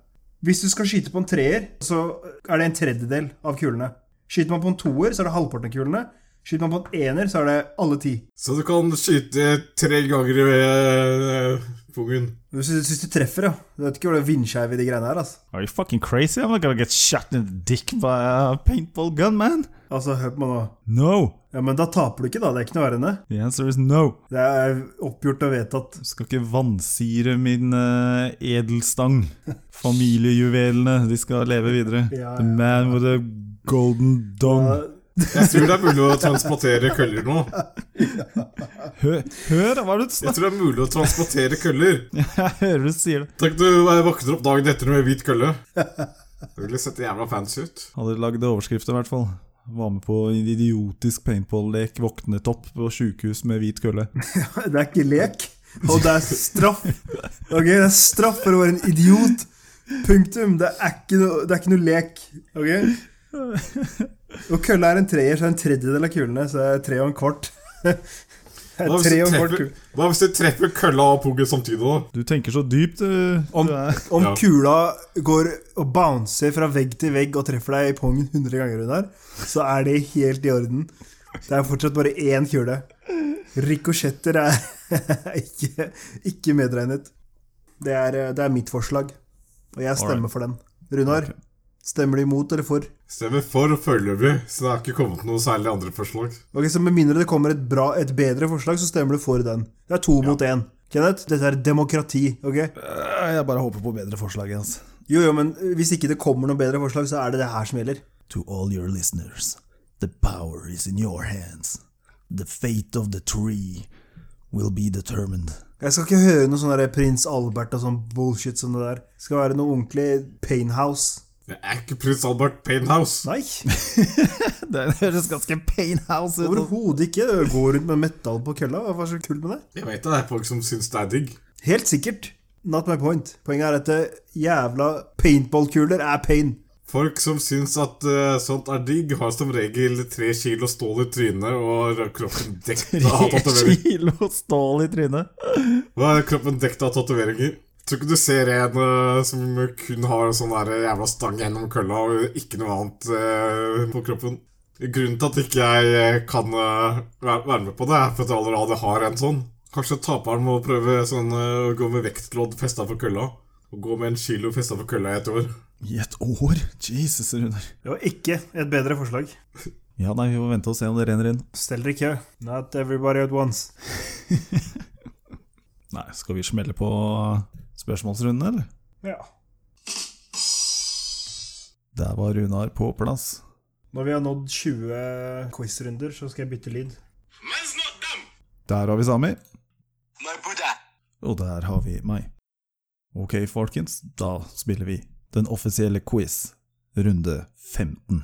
B: Hvis du skal skyte på en treer, så er det en tredjedel av kulene. Skyter man på en toer, så er det halvparten av kulene. Skyter man på en ener, så er det alle ti.
C: Så du kan skyte tre ganger i, eh, pungen.
B: Du syns syns du treffer, ja. Du vet ikke hvor det er vindskeiv i de greiene her, altså.
A: Are you fucking crazy? I'm not gonna get shot in the dick by a paintball gun, man.
B: Altså, hør på meg nå.
A: No.
B: Ja, men da taper du ikke, da. Det er ikke noe verre enn det.
A: The answer is no.
B: Det er oppgjort og vedtatt.
A: Du skal ikke vansire min eh, edelstang. Familiejuvelene, de skal leve videre.
B: Ja,
A: The
B: ja,
A: man with a golden dong.
C: Jeg tror det er mulig å transportere køller nå.
A: Hør, hør hva er det du
C: Jeg
A: snakker
C: tror det er mulig å transportere køller.
A: Jeg hører du sier det.
C: Tenk du eh, våkner opp dagen etter med hvit kølle. Det ville sett jævla fancy ut.
A: Hadde lagd overskrifter, i hvert fall. Var med på en idiotisk paintball-lek, våknet opp på sjukehus med hvit kølle.
B: Det er ikke lek, og det er straff. Ok, Det er straff for å være en idiot. Punktum. Det er ikke noe, det er ikke noe lek. Ok? Og kølla er en treer, så er det en tredjedel av kulene. Så det er tre og en kvart. Det
C: Hva
B: er
C: hvis
B: tre
C: du
B: og en kvart
C: treffer,
B: kul.
C: hva hvis du treffer kølla og pungen samtidig, da?
A: Du tenker så dypt, du.
B: Om-
A: du er.
B: Om
C: Ja.
B: kula går og bouncer fra vegg til vegg og treffer deg i pongen 100 ganger, under, så er det helt i orden. Det er fortsatt bare én kule. Rikosjetter er ikke, ikke medregnet. Det er, eh, det er mitt forslag, og jeg stemmer for den. Runar,
A: Ok.
B: stemmer du imot eller for?
C: Stemmer for foreløpig, så det har ikke kommet noe særlig andre forslag.
B: Ok, så Med mindre det kommer et, bra, et bedre forslag, så stemmer du for den. Det er to mot én. Kenneth, dette er demokrati. ok?
A: Øh, Jeg bare håper på bedre forslag, altså.
B: Jo, jo, men Hvis ikke det kommer noe bedre forslag, så er det det her som gjelder.
A: To all your listeners, the power is in your hands. The fate of the tree will be determined.
B: Jeg skal ikke høre noe sånn der prins Albert og sånn bullshit som det der. Det skal være noe ordentlig painhouse.
C: Det er ikke prins Albert Painhouse.
B: Nei,
A: Det høres ganske painhouse ut. altså.
B: overhodet ikke. Gå rundt med metall på kølla. Hva er så kult med det?
C: Jeg vet det er folk som syns det er digg.
B: Helt sikkert. Not my point. Poenget er at det jævla paintballkuler er pain.
C: Folk som syns at eh, sånt er digg, har som regel tre kilo stål i trynet og kroppen dekt av tatoveringer.
A: kilo stål i trynet.
C: Hva er Kroppen dekt av tatoveringer. Tror ikke du ser en eh, som kun har sånn der jævla stang gjennom kølla og ikke noe annet eh, på kroppen. Grunnen til at ikke jeg eh, kan eh, væ- være med på det, er for at jeg allerede har en sånn. Kanskje taperen må prøve sånn eh, å gå med vektlodd festa på kølla. Og gå med en kilo festa på kølla i et år.
A: I et år? Jesus, Runar.
B: Det var ikke et bedre forslag.
A: Ja, nei, vi må vente og se om det renner inn.
B: Stell dere i kø. Not everybody at once.
A: Nei, skal vi smelle på spørsmålsrunden, eller?
B: Ja.
A: Der var Runar på plass.
B: Når vi har nådd 20 quiz-runder, så skal jeg bytte lyd.
D: Man's not dumb.
A: Der har vi Sami.
D: My Buddha.
A: Og der har vi meg. Ok, folkens, da spiller vi den offisielle quiz, runde 15.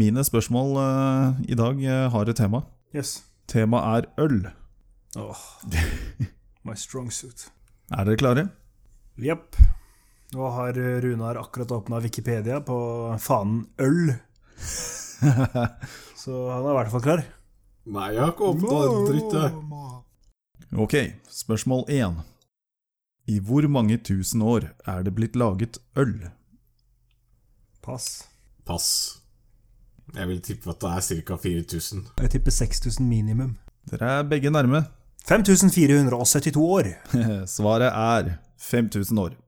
A: Mine spørsmål eh, i dag eh, har et tema.
B: Yes.
A: Temaet er øl.
B: Åh. My strong suit.
A: Er dere klare?
B: Jepp. Nå har Runar akkurat åpna Wikipedia på fanen øl, så han er i hvert fall klar.
C: Nei, jeg har ikke åpna en dritt, jeg.
A: ok, spørsmål 1. I hvor mange tusen år er det blitt laget øl?
B: Pass.
C: Pass. Jeg vil tippe at det er ca. 4000.
B: Jeg tipper 6000 minimum.
A: Dere er begge nærme.
B: 5472 år.
A: Svaret er 5000 år.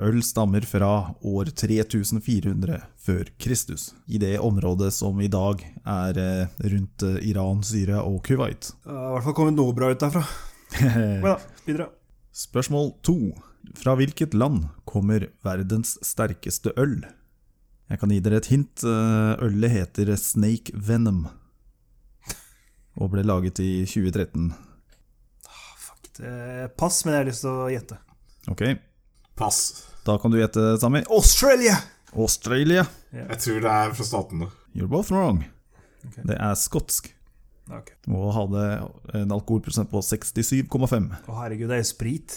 A: Øl stammer fra år 3400 før Kristus, i det området som i dag er eh, rundt eh, Iran, Syria og Kuwait.
B: Det har i hvert fall kommet noe bra ut derfra. Men da, videre.
A: Spørsmål to. Fra hvilket land kommer verdens sterkeste øl? Jeg kan gi dere et hint. Eh, Ølet heter Snake Venom og ble laget i 2013.
B: Fuck, det- Pass, men jeg har lyst til å gjette.
A: Ok,
C: Pass.
A: da kan du gjette, Sami.
B: Australia!
A: Australia.
C: Jeg tror det er fra statene.
A: You're both wrong.
B: Ok.
A: Det er skotsk.
B: Ok.
A: Og hadde en alkoholprosent på 67,5.
B: Å herregud, det er jo sprit.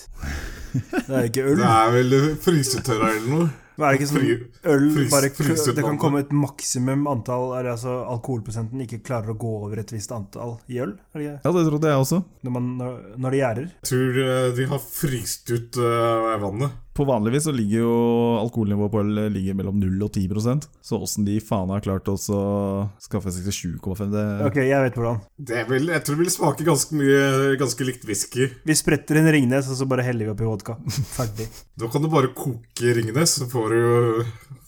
B: Det er jo ikke øl.
C: Det er vel frysetørra eller noe.
B: Men er det ikke
C: Fry-
B: sånn øl
C: frys-
B: bare,
C: fryse
B: Det kan
C: vannet.
B: komme et maksimum antall eller altså Alkoholprosenten ikke klarer å gå over et visst antall i øl? Er det ikke?
A: Ja, det trodde jeg også.
B: Når, man, når, når det gjærer?
C: Jeg tror eh, de har fryst ut eh, vannet.
A: På vanligvis så ligger jo alkoholnivået på øl eh, ligger mellom 0 og 10 så åssen de faen har klart oss å skaffe seg til 7,5 det...
B: Ok, jeg vet hvordan.
C: Det vil, jeg tror det vil smake ganske mye ganske likt whisky.
B: Vi spretter en Ringnes, og så bare heller vi oppi vodka. Ferdig.
C: Da kan du bare koke Ringnes, så får du jo-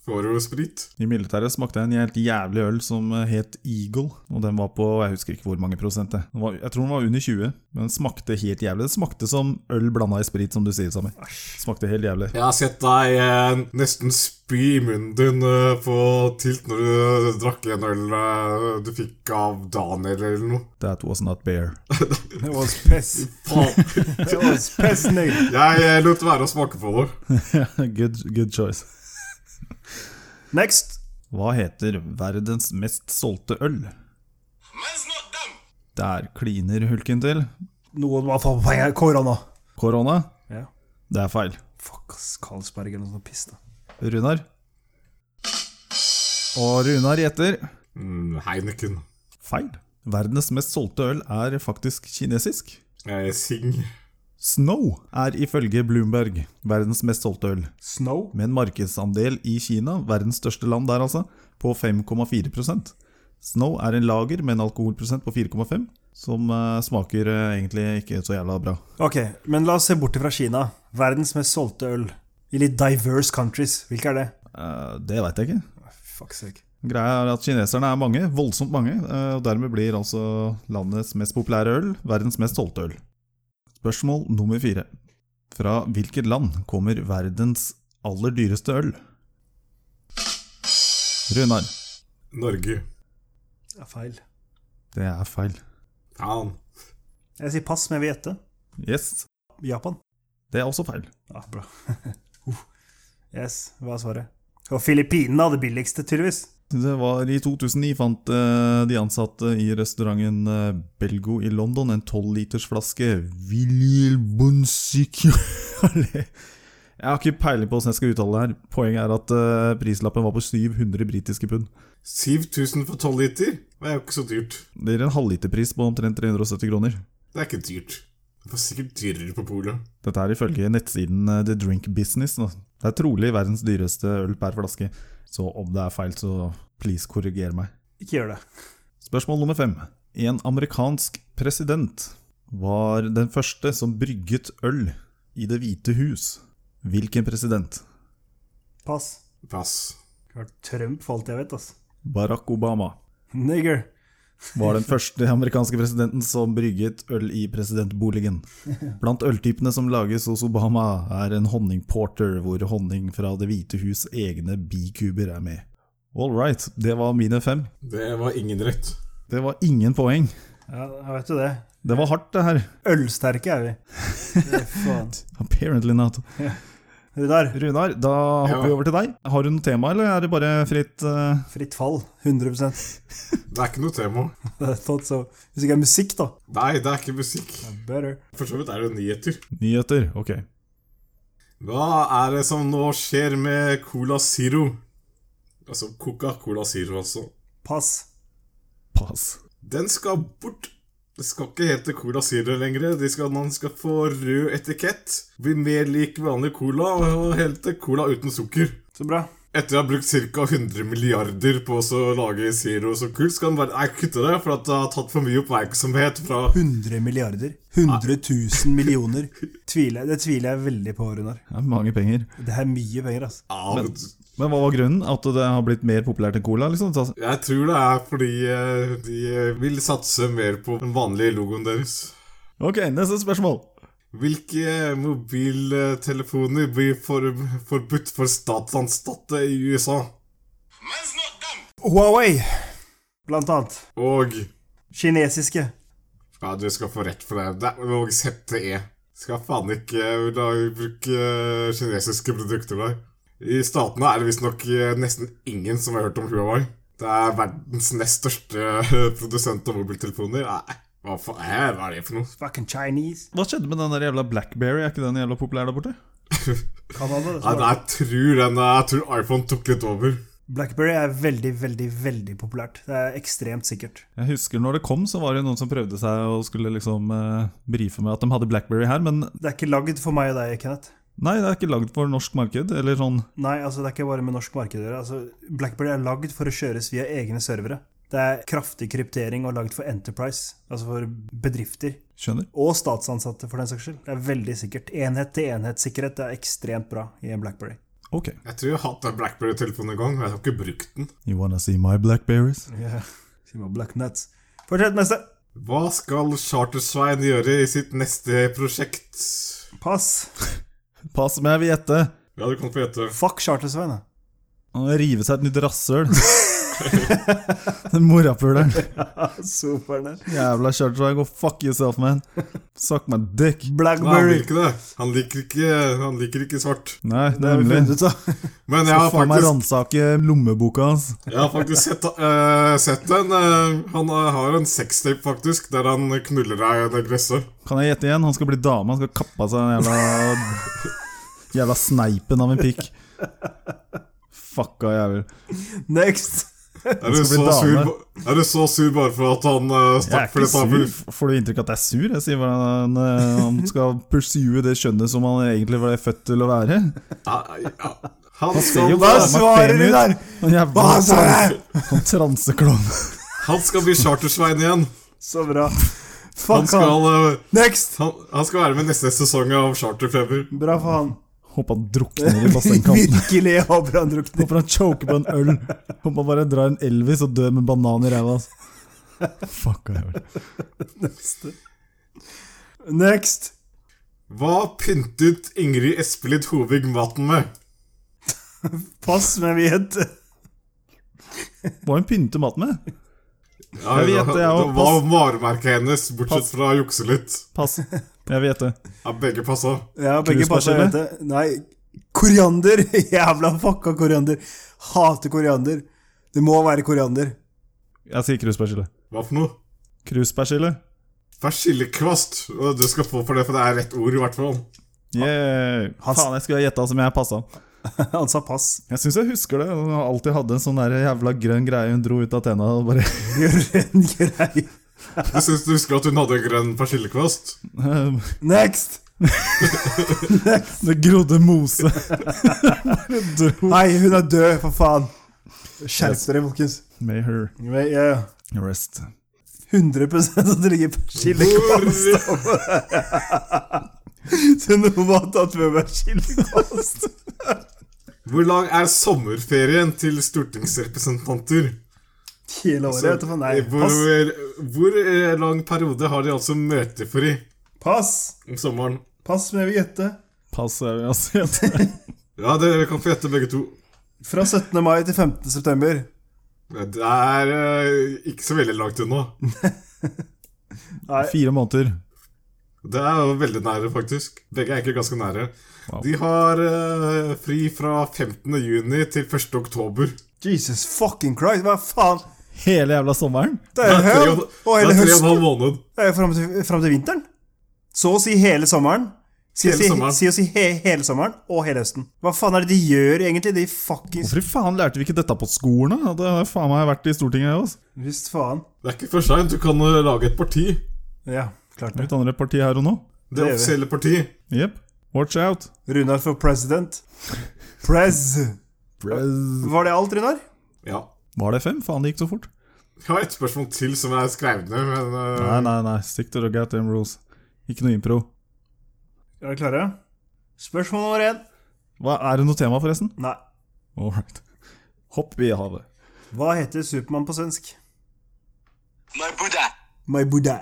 C: får du jo sprit.
A: I militæret smakte jeg en helt jævlig øl som eh, het Eagle, og den var på jeg husker ikke hvor mange prosent. det. Den var, jeg tror den var under 20, men den smakte helt jævlig. Den smakte som øl blanda i sprit, som du sier, Sammy. Smakte helt jævlig.
C: Jeg har sett deg eh, nesten spy i munnen din eh, på tilt når du drakk en øl eh, du fikk av Daniel eller noe.
A: That was not beer.
B: It was piss.
C: Faen.
B: It was piss, nigga.
C: Jeg eh, lot være å smake på det.
A: good, good choice.
B: Next.
A: Hva heter verdens mest solgte øl?
D: Man's not dumb.
A: Der kliner hulken til.
B: Noen må få penger. Korona.
A: Korona?
B: Ja.
A: Det er feil.
B: Fuck, ass. Karlsberg eller noe sånt piss, da.
A: Runar? Og Runar gjetter.
C: Mm, Heineken.
A: Feil. Verdens mest solgte øl er faktisk kinesisk.
C: Eh, Sing.
A: Snow er ifølge Bloomberg verdens mest solgte øl,
B: Snow?
A: med en markedsandel i Kina, verdens største land der altså, på 5,4 Snow er en lager med en alkoholprosent på 4,5, som eh, smaker eh, egentlig ikke så jævla bra.
B: Ok, men la oss se bort fra Kina. Verdens mest solgte øl. I litt diverse countries. Hvilke er det?
A: Eh, det veit jeg ikke.
B: Fuck sake.
A: Greia er at kineserne er mange, voldsomt mange, eh, og dermed blir altså landets mest populære øl verdens mest solgte øl. Spørsmål nummer fire. Fra hvilket land kommer verdens aller dyreste øl? Runar,
C: Norge.
B: Det er feil.
A: det er feil.
C: Faen.
B: Jeg sier pass, men jeg vil gjette.
A: Yes,
B: Japan.
A: det er også feil.
B: Ja, bra. Uff. yes, hva er svaret? Og Filippinene hadde billigste, tydeligvis.
A: Det var I 2009 fant eh, de ansatte i restauranten eh, Belgo i London en tolvlitersflaske Viljelbonsikyale Jeg har ikke peiling på hvordan jeg skal uttale det her. Poenget er at eh, prislappen var på 700 britiske pund.
C: 7000 for 12 liter? Det er jo ikke så dyrt.
A: Det gir en halvliterpris på omtrent 370 kroner.
C: Det er ikke dyrt. Det var sikkert dyrere på polet.
A: Dette er ifølge nettsiden eh, The Drink Business. Nå. Det er trolig verdens dyreste øl per flaske. Så om det er feil, så please korriger meg.
B: Ikke gjør det.
A: Spørsmål nummer fem. En amerikansk president var den første som brygget øl i Det hvite hus. Hvilken president?
B: Pass.
C: Pass.
B: Klart Trump for alt jeg vet, ass.
A: Barack Obama
B: Nigger.
A: var den første amerikanske presidenten som brygget øl i presidentboligen. Blant øltypene som lages hos Obama, er en honningporter, hvor honning fra Det hvite hus' egne bikuber er med. All right, det var mine fem.
C: Det var ingen rett.
A: Det var ingen poeng.
B: Ja, jeg vet jo det.
A: Det var hardt, det her.
B: Ølsterke er vi. Det er faen.
A: Apparently not.
B: Runar,
A: Runar, da hopper
C: Ja.
A: vi over til deg. Har du noe tema, eller er det bare fritt eh,
B: fritt fall. 100
C: Det er ikke noe tema.
B: Thought so. Hvis ikke er musikk, da.
C: Nei, det er ikke musikk.
B: Better.
C: For så vidt er det jo nyheter.
A: nyheter? Ok.
C: Hva er det som nå skjer med Cola Zero? Altså Coca-Cola Zero, altså.
B: Pass.
A: Pass.
C: Den skal bort. Det skal ikke hete Cola Zero lenger. De skal, man skal få rød etikett. Bli mer lik vanlig cola og hete cola uten sukker.
B: Så bra.
C: Etter å ha brukt ca. 100 milliarder på å så lage Zero så kult, skal den bare Nei, kutte det, for at det har tatt for mye oppmerksomhet fra
B: 100 milliarder. 100 000 millioner. Tviler, jeg- det tviler jeg veldig på, Runar.
A: Det er mange penger.
B: Det er mye penger, altså.
C: ja, men,
A: Men hva var grunnen? At det har blitt mer populært enn cola? liksom? Så-
C: Jeg tror det er fordi eh, de eh, vil satse mer på den vanlige logoen deres.
A: Ok, neste spørsmål.
C: Hvilke eh, mobiltelefoner blir for, forbudt for statsansatte i USA?
D: Man's not dumb.
B: Huawei, blant annet.
C: Og
B: Kinesiske.
C: Ja, du skal få rett for det. det og ZTE. E. Skal faen ikke la bruke kinesiske produkter der. I statene er det visstnok eh, nesten ingen som har hørt om Huawei. Det er verdens nest største eh, produsent av mobiltelefoner. Nei, hva faen hæ, hva er det for noe?
B: Fucking Chinese.
A: Hva skjedde med den der jævla Blackberry? Er ikke den jævla populær der borte?
B: Canada. Ah, det står.
C: Nei, jeg tror, den, eh, jeg tror iPhone tok litt over.
B: Blackberry er veldig, veldig, veldig populært. Det er ekstremt sikkert.
A: Jeg husker når det kom, så var det noen som prøvde seg og skulle liksom eh, brife med at de hadde Blackberry her, men
B: Det er ikke lagd for meg og deg, Kenneth.
A: Nei, det er ikke lagd for norsk marked, eller sånn
B: Nei, altså det er ikke bare med norsk marked å gjøre. Altså, Blackberry er lagd for å kjøres via egne servere. Det er kraftig kryptering og lagd for Enterprise, altså for bedrifter.
A: Skjønner.
B: Og statsansatte, for den saks skyld. Det er veldig sikkert. Enhet-til-enhet-sikkerhet er ekstremt bra i en Blackberry.
A: Ok.
C: Jeg tror jeg har hatt den Blackberry-telefonen en gang, og jeg har ikke brukt den.
A: You wanna see my blackberries?
B: Yeah. Sier man black nuts. Fortsett neste.
C: Hva skal Charter-Svein gjøre i sitt neste prosjekt?
B: Pass.
A: Pass meg, jeg vil gjette!
C: Ja, du kan få gjette.
B: Fuck Charter-Svein, da.
A: Han river seg et nytt rasshøl. Den morapuleren.
B: Superne.
A: Jævla kjørte Go fuck yourself, man. Suck my dick.
C: Nei, han
B: Blackberry.
C: liker det. Han liker ikke, han liker ikke svart.
A: Nei, det
B: Det
A: er
B: har vi funnet
A: mulig.
B: ut av.
C: Men jeg
A: Skal
C: har
A: faen meg
C: faktisk,
A: ransake lommeboka hans.
C: jeg har faktisk sett, eh, sett en eh, Han eh, har en sextape, faktisk, der han knuller ei negresse.
A: Kan jeg gjette igjen? Han skal bli dame. Han skal kappe av seg den jævla Jævla sneipen av en pikk. Fucka jævel.
B: Next.
C: Er du,
A: skal
C: så
A: bli
C: sur,
A: dame.
C: ba- er du så sur bare for at han eh,
A: Jeg er
C: stakk
A: ikke
C: flere taper?
A: sur. Får du inntrykk av at jeg er sur? Jeg sier bare han, eh, han skal pursue det kjønnet som han egentlig ble født til å være.
C: Nei, ja. Han
A: ser jo
C: skal,
B: Hva
A: faen meg
B: svarer
A: pen
B: du
A: ut.
B: der?
A: Han jævla
B: Hva sa jeg?
A: Han transeklovn.
C: han skal bli Charter-Svein igjen.
B: Så bra.
C: Han
B: Fuck han.
C: skal, eh,
B: Next.
C: han, han skal være med neste sesong av Charter-Feber.
B: Bra for han.
A: Håper han drukner i
C: Altså,
A: bassengkanten.
B: Virkelig jeg håper han drukner.
A: Håper han choker på en øl. Håper han bare drar en Elvis og dør med banan i ræva. ass. Fuck, hva jeg gjør.
B: Next.
C: Hva pyntet Ingrid Espelid Hovig maten med?
B: Pass, men vi heter
A: Hva hun pynter mat med?
C: Ja,
A: Jeg vet det, jeg
C: det
A: også.
C: var varemerket hennes, bortsett
A: Pass.
C: fra å jukse litt.
A: Pass. Jeg vet det.
C: Ja, begge passa.
B: Ja, begge
A: Cruise
B: passer
A: Barcelona?
B: hete. Nei, koriander. Jævla fucka koriander. Hater koriander. Det må være koriander.
A: Jeg sier kruspersille.
C: Hva for noe?
A: Kruspersille.
C: Persillekvast. Og Du skal få for det, for det er rett ord, i hvert fall.
A: Yeah. Faen, jeg skulle ha gjetta som jeg passa.
B: Han sa pass.
A: Jeg syns jeg husker det. Hun alltid hadde en sånn der jævla grønn greie hun dro ut av tenna og bare
B: Gjør en grei.
C: Jeg syns du husker at hun hadde en grønn persillekvast.
B: Next!
A: Det grodde mose. Bare dro.
B: Nei, hun er død, for faen. Skjerp dere, folkens.
A: May her
B: Men, ja, ja.
A: rest.
B: 100 at det ligger persillekvast
C: Hvor-
B: Så noen har tatt med persillekvast.
C: Hvor lang er sommerferien til stortingsrepresentanter?
B: Hele året. vet du, for Nei,
C: hvor,
B: pass.
C: hvor eh, lang periode har de altså møtefri
B: Pass,
C: om sommeren?
B: pass men jeg vil gjette.
A: Pass, jeg vil altså gjette.
C: Ja, dere kan få gjette begge to.
B: Fra 17. mai til 15. september.
C: Det er eh, ikke så veldig langt unna.
B: Nei,
A: Fire måneder.
C: Det er jo veldig nære, faktisk. Begge er egentlig ganske nære.
A: Wow.
C: De har eh, fri fra 15. juni til 1. oktober.
B: Jesus fucking Christ, hva faen?
A: Hele jævla sommeren.
B: Det
C: Det
B: er
C: er
B: jo
C: tre
B: høl!
C: og-
B: Og
C: det
B: hele
C: er tre og en halv
B: høsten.
C: måned.
B: Det er jo fram til, fram til vinteren. Så å si hele sommeren. Si,
C: Hele
B: si,
C: sommeren.
B: si å si he, hele sommeren og hele høsten. Hva faen er det de gjør, egentlig? De fuckings
A: Hvorfor i faen lærte vi ikke dette på skolen? da? Det har faen meg vært i Stortinget, jeg også.
B: Visst faen.
C: Det er ikke for seint. Du kan eh, lage et parti.
B: Ja, klart det.
A: Litt andre parti her og nå.
C: Det
B: gjør vi.
C: offisielle parti.
A: Jepp. Watch out.
B: Runar for president. Prez. Var det alt, Runar?
C: Ja.
A: Var det fem? Faen, det gikk så fort.
C: Jeg har et spørsmål til som jeg har skrevet ned, men eh,
A: Nei, nei, nei. Stick to the goddamn rules. Ikke noe impro.
B: Er dere klare? Spørsmål nummer én.
A: Hva, er det noe tema, forresten?
B: Nei.
A: All right. Hopp i havet.
B: Hva heter Supermann på svensk?
D: My Buddha.
B: My Buddha.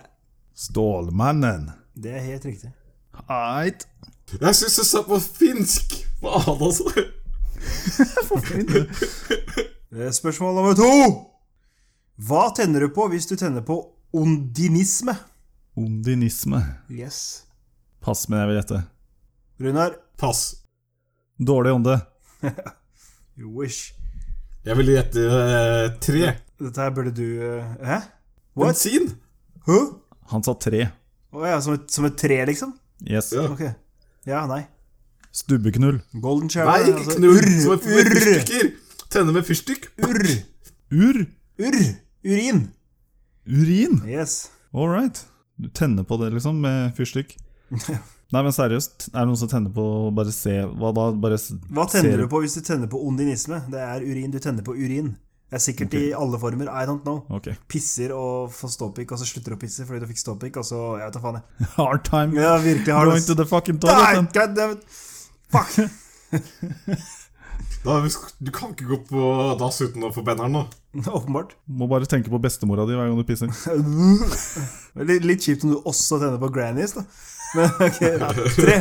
A: Stålmannen.
B: Det er helt riktig.
A: Eit.
C: Jeg syns det står på finsk! Hva annet, altså?
B: Eh, Spørsmål nummer to. Hva tenner du på hvis du tenner på ondinisme?
A: Ondinisme.
B: Yes.
A: Pass, men jeg vil gjette.
B: Runar,
C: Pass.
A: Dårlig ånde.
B: you wish.
C: Jeg ville gjette eh, tre.
B: Dette her burde du eh, Hæ? What?
C: Bensin?
B: Hæ?
A: Han sa tre.
B: Å ja, som et, som et tre, liksom?
A: Yes.
C: Ja.
B: Ok. Ja, nei.
A: Stubbeknull.
B: Golden shower.
C: Nei, ikke
B: altså,
C: knull.
B: Urr,
C: Som et med
B: urr,
C: fyrstikker. Tenne med fyrstikk.
B: urr,
A: Ur.
B: urr. Urin.
A: Urin.
B: Yes.
A: All right. Du tenner på det, liksom, med fyrstikk. Nei, men seriøst, er det noen som tenner på å bare se Hva da? Bare s-
B: Hva tenner
A: ser-
B: du på hvis du tenner på ondinisme? Det er urin. Du tenner på urin. Det er sikkert i alle former. I don't know.
A: Ok.
B: Pisser og får ståpikk, og så slutter du å pisse fordi du fikk ståpikk, og så Jeg vet da faen, jeg.
A: Hard time.
B: Ja, virkelig har
A: Going to
B: det
A: the fucking
B: Nei,
A: toilet.
B: God damn it. Fuck!
C: Da, hvis- du kan ikke gå på dass uten å få benneren, da.
B: Åpenbart.
A: Må bare tenke på bestemora di hver gang du pisser.
B: Litt, litt kjipt om du også tenner på grannies, da. Men ok, tre.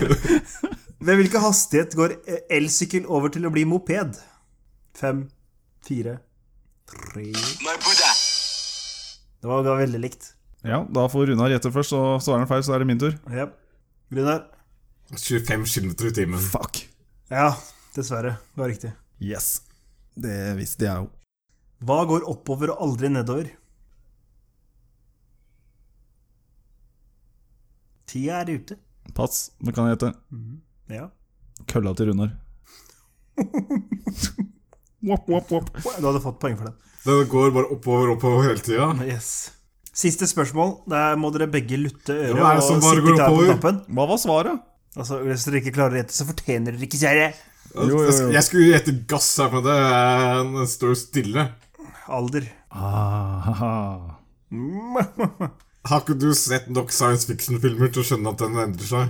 B: Ved hvilken hastighet går elsykkel over til å bli moped? Fem, fire, tre Det
D: My Buddha,
B: var, det var veldig likt.
A: Ja, da får Runar gjette først, og svarer han feil, så er det min tur.
B: Ja. Runar?
C: 25 km i timen.
A: Ah, Fuck.
B: Ja, dessverre. Det var riktig.
A: Yes. Det visste jeg jo.
B: Hva går oppover og aldri nedover? Tida er ute.
A: Pass. Nå kan jeg gjette.
B: Ja.
A: Kølla til Runar. Wop, wop, wop.
B: Du hadde fått poeng for den.
C: Den går bare oppover og oppover hele tida.
B: Yes. Siste spørsmål. Der må dere begge lutte øret
C: hva er det som
B: og
C: bare
B: sitte
C: går
B: klar på
C: oppover?
B: knappen.
A: Hva var svaret?
B: Altså, hvis dere ikke klarer å gjette, så fortjener dere ikke kjære.
A: Jo, jo, jo.
C: Jeg sk- Jeg skulle gjette gass her, men det eh, den står stille.
B: Alder.
A: Ah,
C: Mm. Har ikke du sett nok science fiction-filmer til å skjønne at den endrer seg?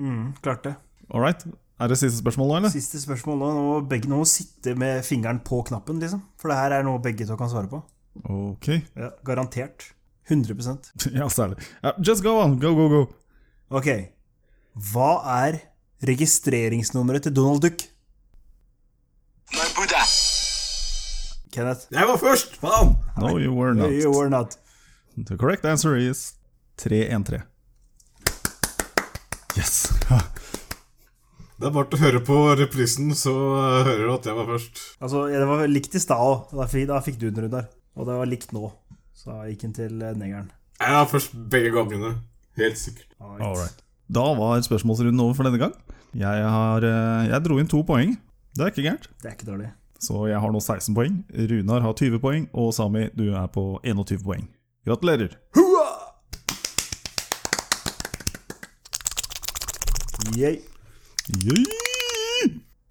B: Mm, klarte.
A: All right. Er det siste spørsmål nå, eller?
B: Siste spørsmål nå. Nå må begge nå må sitte med fingeren på knappen, liksom. For det her er noe begge to kan svare på.
A: Ok.
B: Ja, garantert. 100
A: Ja, særlig. Ja, just go on. Go, go, go.
B: Ok. Hva er registreringsnummeret til Donald Duck?
D: my Buddha,
B: Kenneth?
C: Jeg var først! Faen!
A: No, you were not.
B: You were not.
A: The correct answer is 313. Yes.
C: Det er bare til å høre på reprisen, så eh, hører du at jeg var først.
B: Altså, ja, det var likt i stad òg. Da, fikk- da fikk du den, Runar. Og det var likt nå. Så da gikk den til eh, negeren.
C: Jeg var først begge gangene. Helt sikkert.
A: All right. Da var spørsmålsrunden over for denne gang. Jeg, har, eh, jeg dro inn to poeng. Det er ikke gærent.
B: Det er ikke dårlig.
A: Så jeg har nå 16 poeng. Runar har 20 poeng, og Sami, du er på 21 poeng. Gratulerer.
B: Yay.
A: Yeah!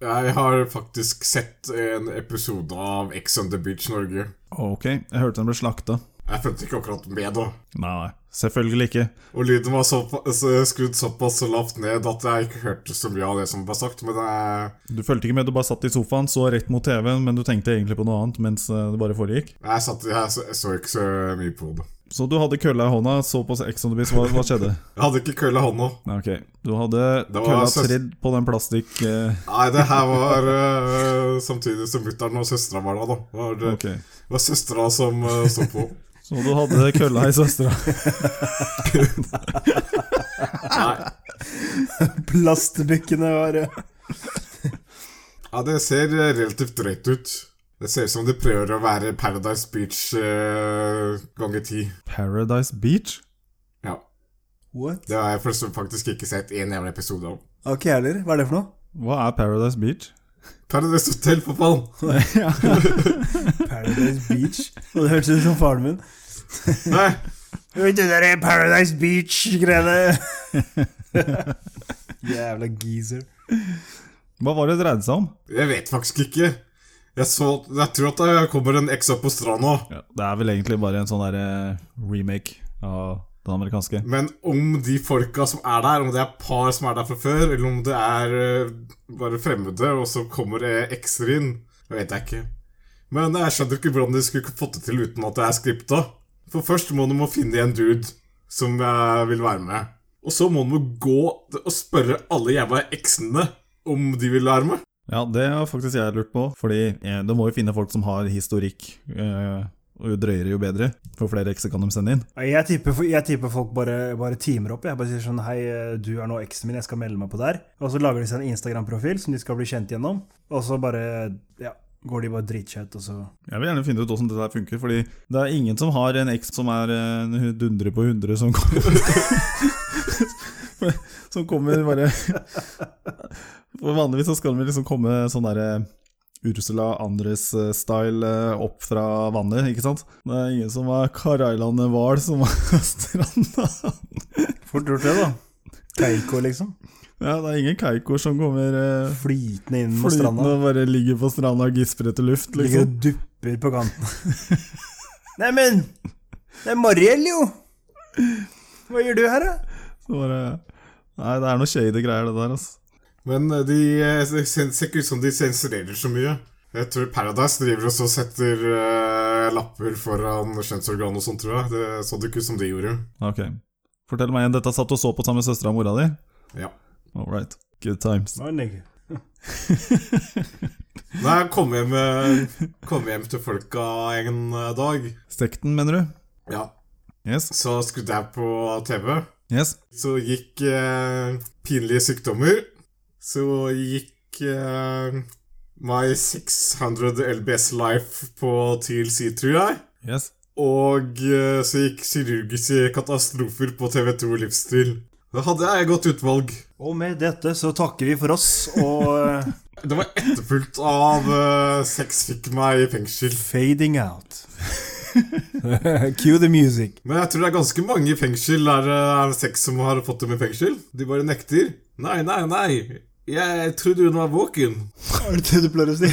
C: Jeg har faktisk sett en episode av Ex on the Beach Norge.
A: Ok, jeg hørte den ble slakta.
C: Jeg fulgte ikke akkurat med da.
A: Nei, selvfølgelig ikke.
C: Og lyden var såpa- så skrudd såpass lavt ned at jeg ikke hørte så mye av det som ble sagt. Men jeg,
A: Du fulgte ikke med, du bare satt i sofaen, så rett mot TV-en, men du tenkte egentlig på noe annet mens eh, det bare foregikk.
C: jeg, satt, jeg, så, jeg så ikke så mye på det.
A: Så du hadde kølla i hånda, så på Ex on the Beach, hva, hva skjedde?
C: Jeg hadde ikke kølla i hånda.
A: Nei, Ok, du hadde
C: var
A: kølla
C: søs-
A: tredd på den plastikk... eh,
C: Nei, det her var eh, samtidig som mutter'n og søstera var der, da. Det var, det
A: ok,
C: var søstera som uh, sto på.
A: så du hadde kølla i søstera.
C: Nei,
B: Plastdukkene var eh,
C: ja, det ser relativt drøyt ut. Det ser ut som de prøver å være Paradise Beach eh, ganger ti.
A: Paradise Beach?
C: Ja.
B: What?
C: Det har jeg forresten faktisk ikke sett en jævla episode av.
B: Ok, heller. Hva er det for noe?
A: Hva er Paradise Beach?
C: Paradise Hotel, for faen!
A: ja.
B: Paradise Beach. Og det hørtes ut som faren min.
C: Nei,
B: Vet du der Paradise Beach-greiene? Jævla geezer.
A: Hva var det det dreide seg om?
C: jeg vet faktisk ikke. Jeg, så, jeg tror at det kommer en ex opp på stranda.
A: Ja, det er vel egentlig bare en sånn der eh, remake av den amerikanske.
C: Men om de folka som er der, om det er par som er der fra før, eller om det er eh, bare fremmede, og så kommer det ekser inn, det vet jeg ikke. Men jeg skjønner ikke hvordan de skulle fått det til uten at det er skripta. For først må de må finne en dude som eh, vil være med. Og så må de gå og spørre alle jævla eksene om de vil være med.
A: Ja, det har faktisk jeg lurt på, fordi eh, du må jo finne folk som har historikk. Eh, og jo drøyere, jo bedre. For flere ekser kan de sende inn.
B: Jeg tipper, jeg tipper folk bare, bare timer opp. Jeg bare sier sånn Hei, du er nå eksen min, jeg skal melde meg på der. Og så lager de seg en Instagram-profil som de skal bli kjent gjennom. Og så bare ja, går de bare dritkjett, og så
A: Jeg vil gjerne finne ut åssen dette her funker, fordi det er ingen som har en eks som er eh, en hu- dundre på hundre som kommer Som kommer bare For Vanligvis så skal de liksom komme sånn derre Ursula Andres-style eh, opp fra vannet, ikke sant? Det er ingen eh, som er Karailandet Hval som har stranda.
B: Fort gjort, det, da. Keiko, liksom.
A: Ja, det er ingen Keiko som kommer eh,
B: Flytende inn mot
A: flytende
B: stranda.
A: og bare ligger på stranda og gisper etter luft,
B: Ligger og
A: liksom.
B: dupper på kanten. Neimen, det er Mariell, jo! Hva gjør du her, da?
A: Så bare, nei, det er noe shady greier, det der, altså.
C: Men eh, de, eh, det sen- ser ikke ut som de sensurerer så mye. Jeg tror Paradise driver og så setter eh, lapper foran kjønnsorgan og sånt, tror jeg. Det så det ikke ut som de gjorde.
A: Ok. Fortell meg igjen, dette satt og så på sammen med søstera og mora di?
C: Ja.
A: All right. Good times.
C: Nei, jeg kom hjem, eh, kom hjem til folka en eh, dag.
A: Sekten, mener du?
C: Ja.
A: Yes.
C: Så skrudde jeg på TV.
A: Yes.
C: Så gikk eh, pinlige sykdommer. Så gikk eh, My 600 LBS Life på TLC, tror jeg.
A: Yes.
C: Og eh, så gikk kirurgiske katastrofer på TV2 Livsstil. Da hadde jeg godt utvalg.
B: Og med dette så takker vi for oss, og eh,
C: Det var etterfulgt av eh, Sex fikk meg i fengsel.
B: Fading out. Cue the music.
C: Men jeg tror det er ganske mange i fengsel der det er sex som har fått dem i fengsel. De bare nekter. Nei, nei, nei. Jeg trodde hun var våken.
B: Er det det du pleier å si?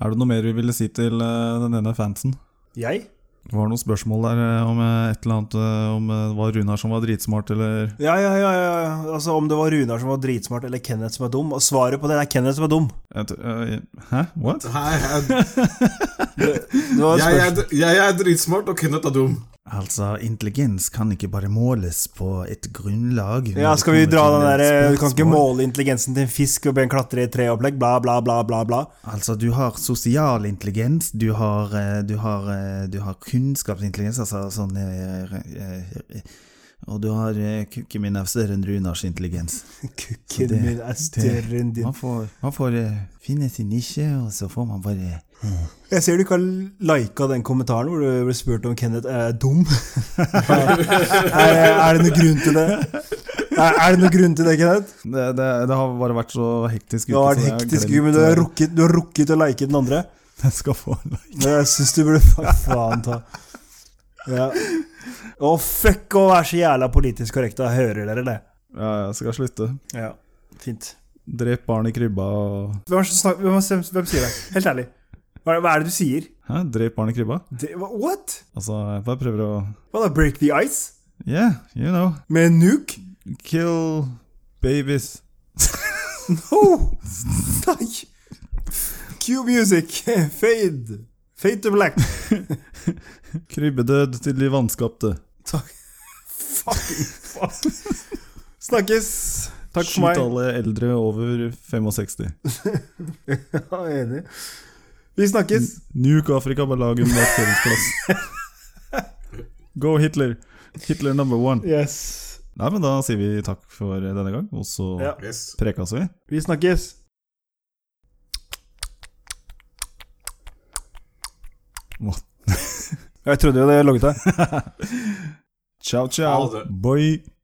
A: Er det noe mer vi ville si til eh, den ene fansen?
B: Jeg?
A: Det var noen spørsmål der eh, om eh, et eller annet eh, Om eh, det var Runar som var dritsmart, eller
B: Ja, ja, ja, ja. Altså, om det var Runar som var dritsmart, eller Kenneth som er dum. Og svaret på det er Kenneth som er dum.
A: Jeg tror- eh, Hæ? What?
C: Hei, jeg,
B: Det var et
C: jeg,
B: spørsmål.
C: er- jeg er dritsmart, og Kenneth er dum.
A: Altså, intelligens kan ikke bare måles på et grunnlag
B: Ja, skal vi dra den derre Du kan ikke måle intelligensen til en fisk og be en klatre i et treopplegg, bla, bla, bla, bla, bla.
A: Altså, du har sosial intelligens, du har, eh, du har, eh, du har kunnskapsintelligens, altså sånn eh, eh, Og du har eh, kukken min er større enn Runars intelligens.
B: Kukken
A: Det-
B: min er større enn din.
A: Man får, man får eh, finne sin nisje, og så får man bare
B: Jeg ser du ikke har lika den kommentaren hvor du ble spurt om Kenneth er dum. er, er det noen grunn til det? Er, er det noen grunn til det, Kenneth?
A: Det, det, det har bare vært så hektisk
B: Du har vært hektisk, men
A: eh,
B: du har rukket, du har rukket å like den andre.
A: Jeg skal få en like.
B: Men jeg syns du burde fa faen ta ja. Å, fuck å være så jævla politisk korrekt, da hører dere det.
A: Ja, jeg skal slutte.
B: Ja, fint.
A: Drep barn i krybba og
B: Hvem, er det som snakker- hvem, er det som- hvem sier det? Helt ærlig. Hva er, hva er det du sier?
A: Hæ? Drep barn i krybba?
B: Det, hva- what?
A: Altså, jeg bare prøver å
B: Hva da? Break the ice?
A: Yeah, you know.
B: Med en nuke?
A: Kill babies.
B: Oh! Nei! Cue music. Fade. Fade to black.
A: Krybbedød til de vanskapte.
B: Takk. Fucking faen. Snakkes. Takk for
A: Skyt
B: meg.
A: alle eldre over 65.
B: Ja, jeg er enig. Vi snakkes.
A: Nuke Afrika bare lag en markeringsplass. Go Hitler! Hitler number one.
B: Yes.
A: Nei, men da sier vi takk for denne gang, og så
B: Ja.
C: Yes.
A: prekas vi.
B: Vi snakkes.
A: What?
B: Jeg trodde jo det logget deg.
A: Ciao,
C: Ha
A: ciao.
C: det.
A: Boy.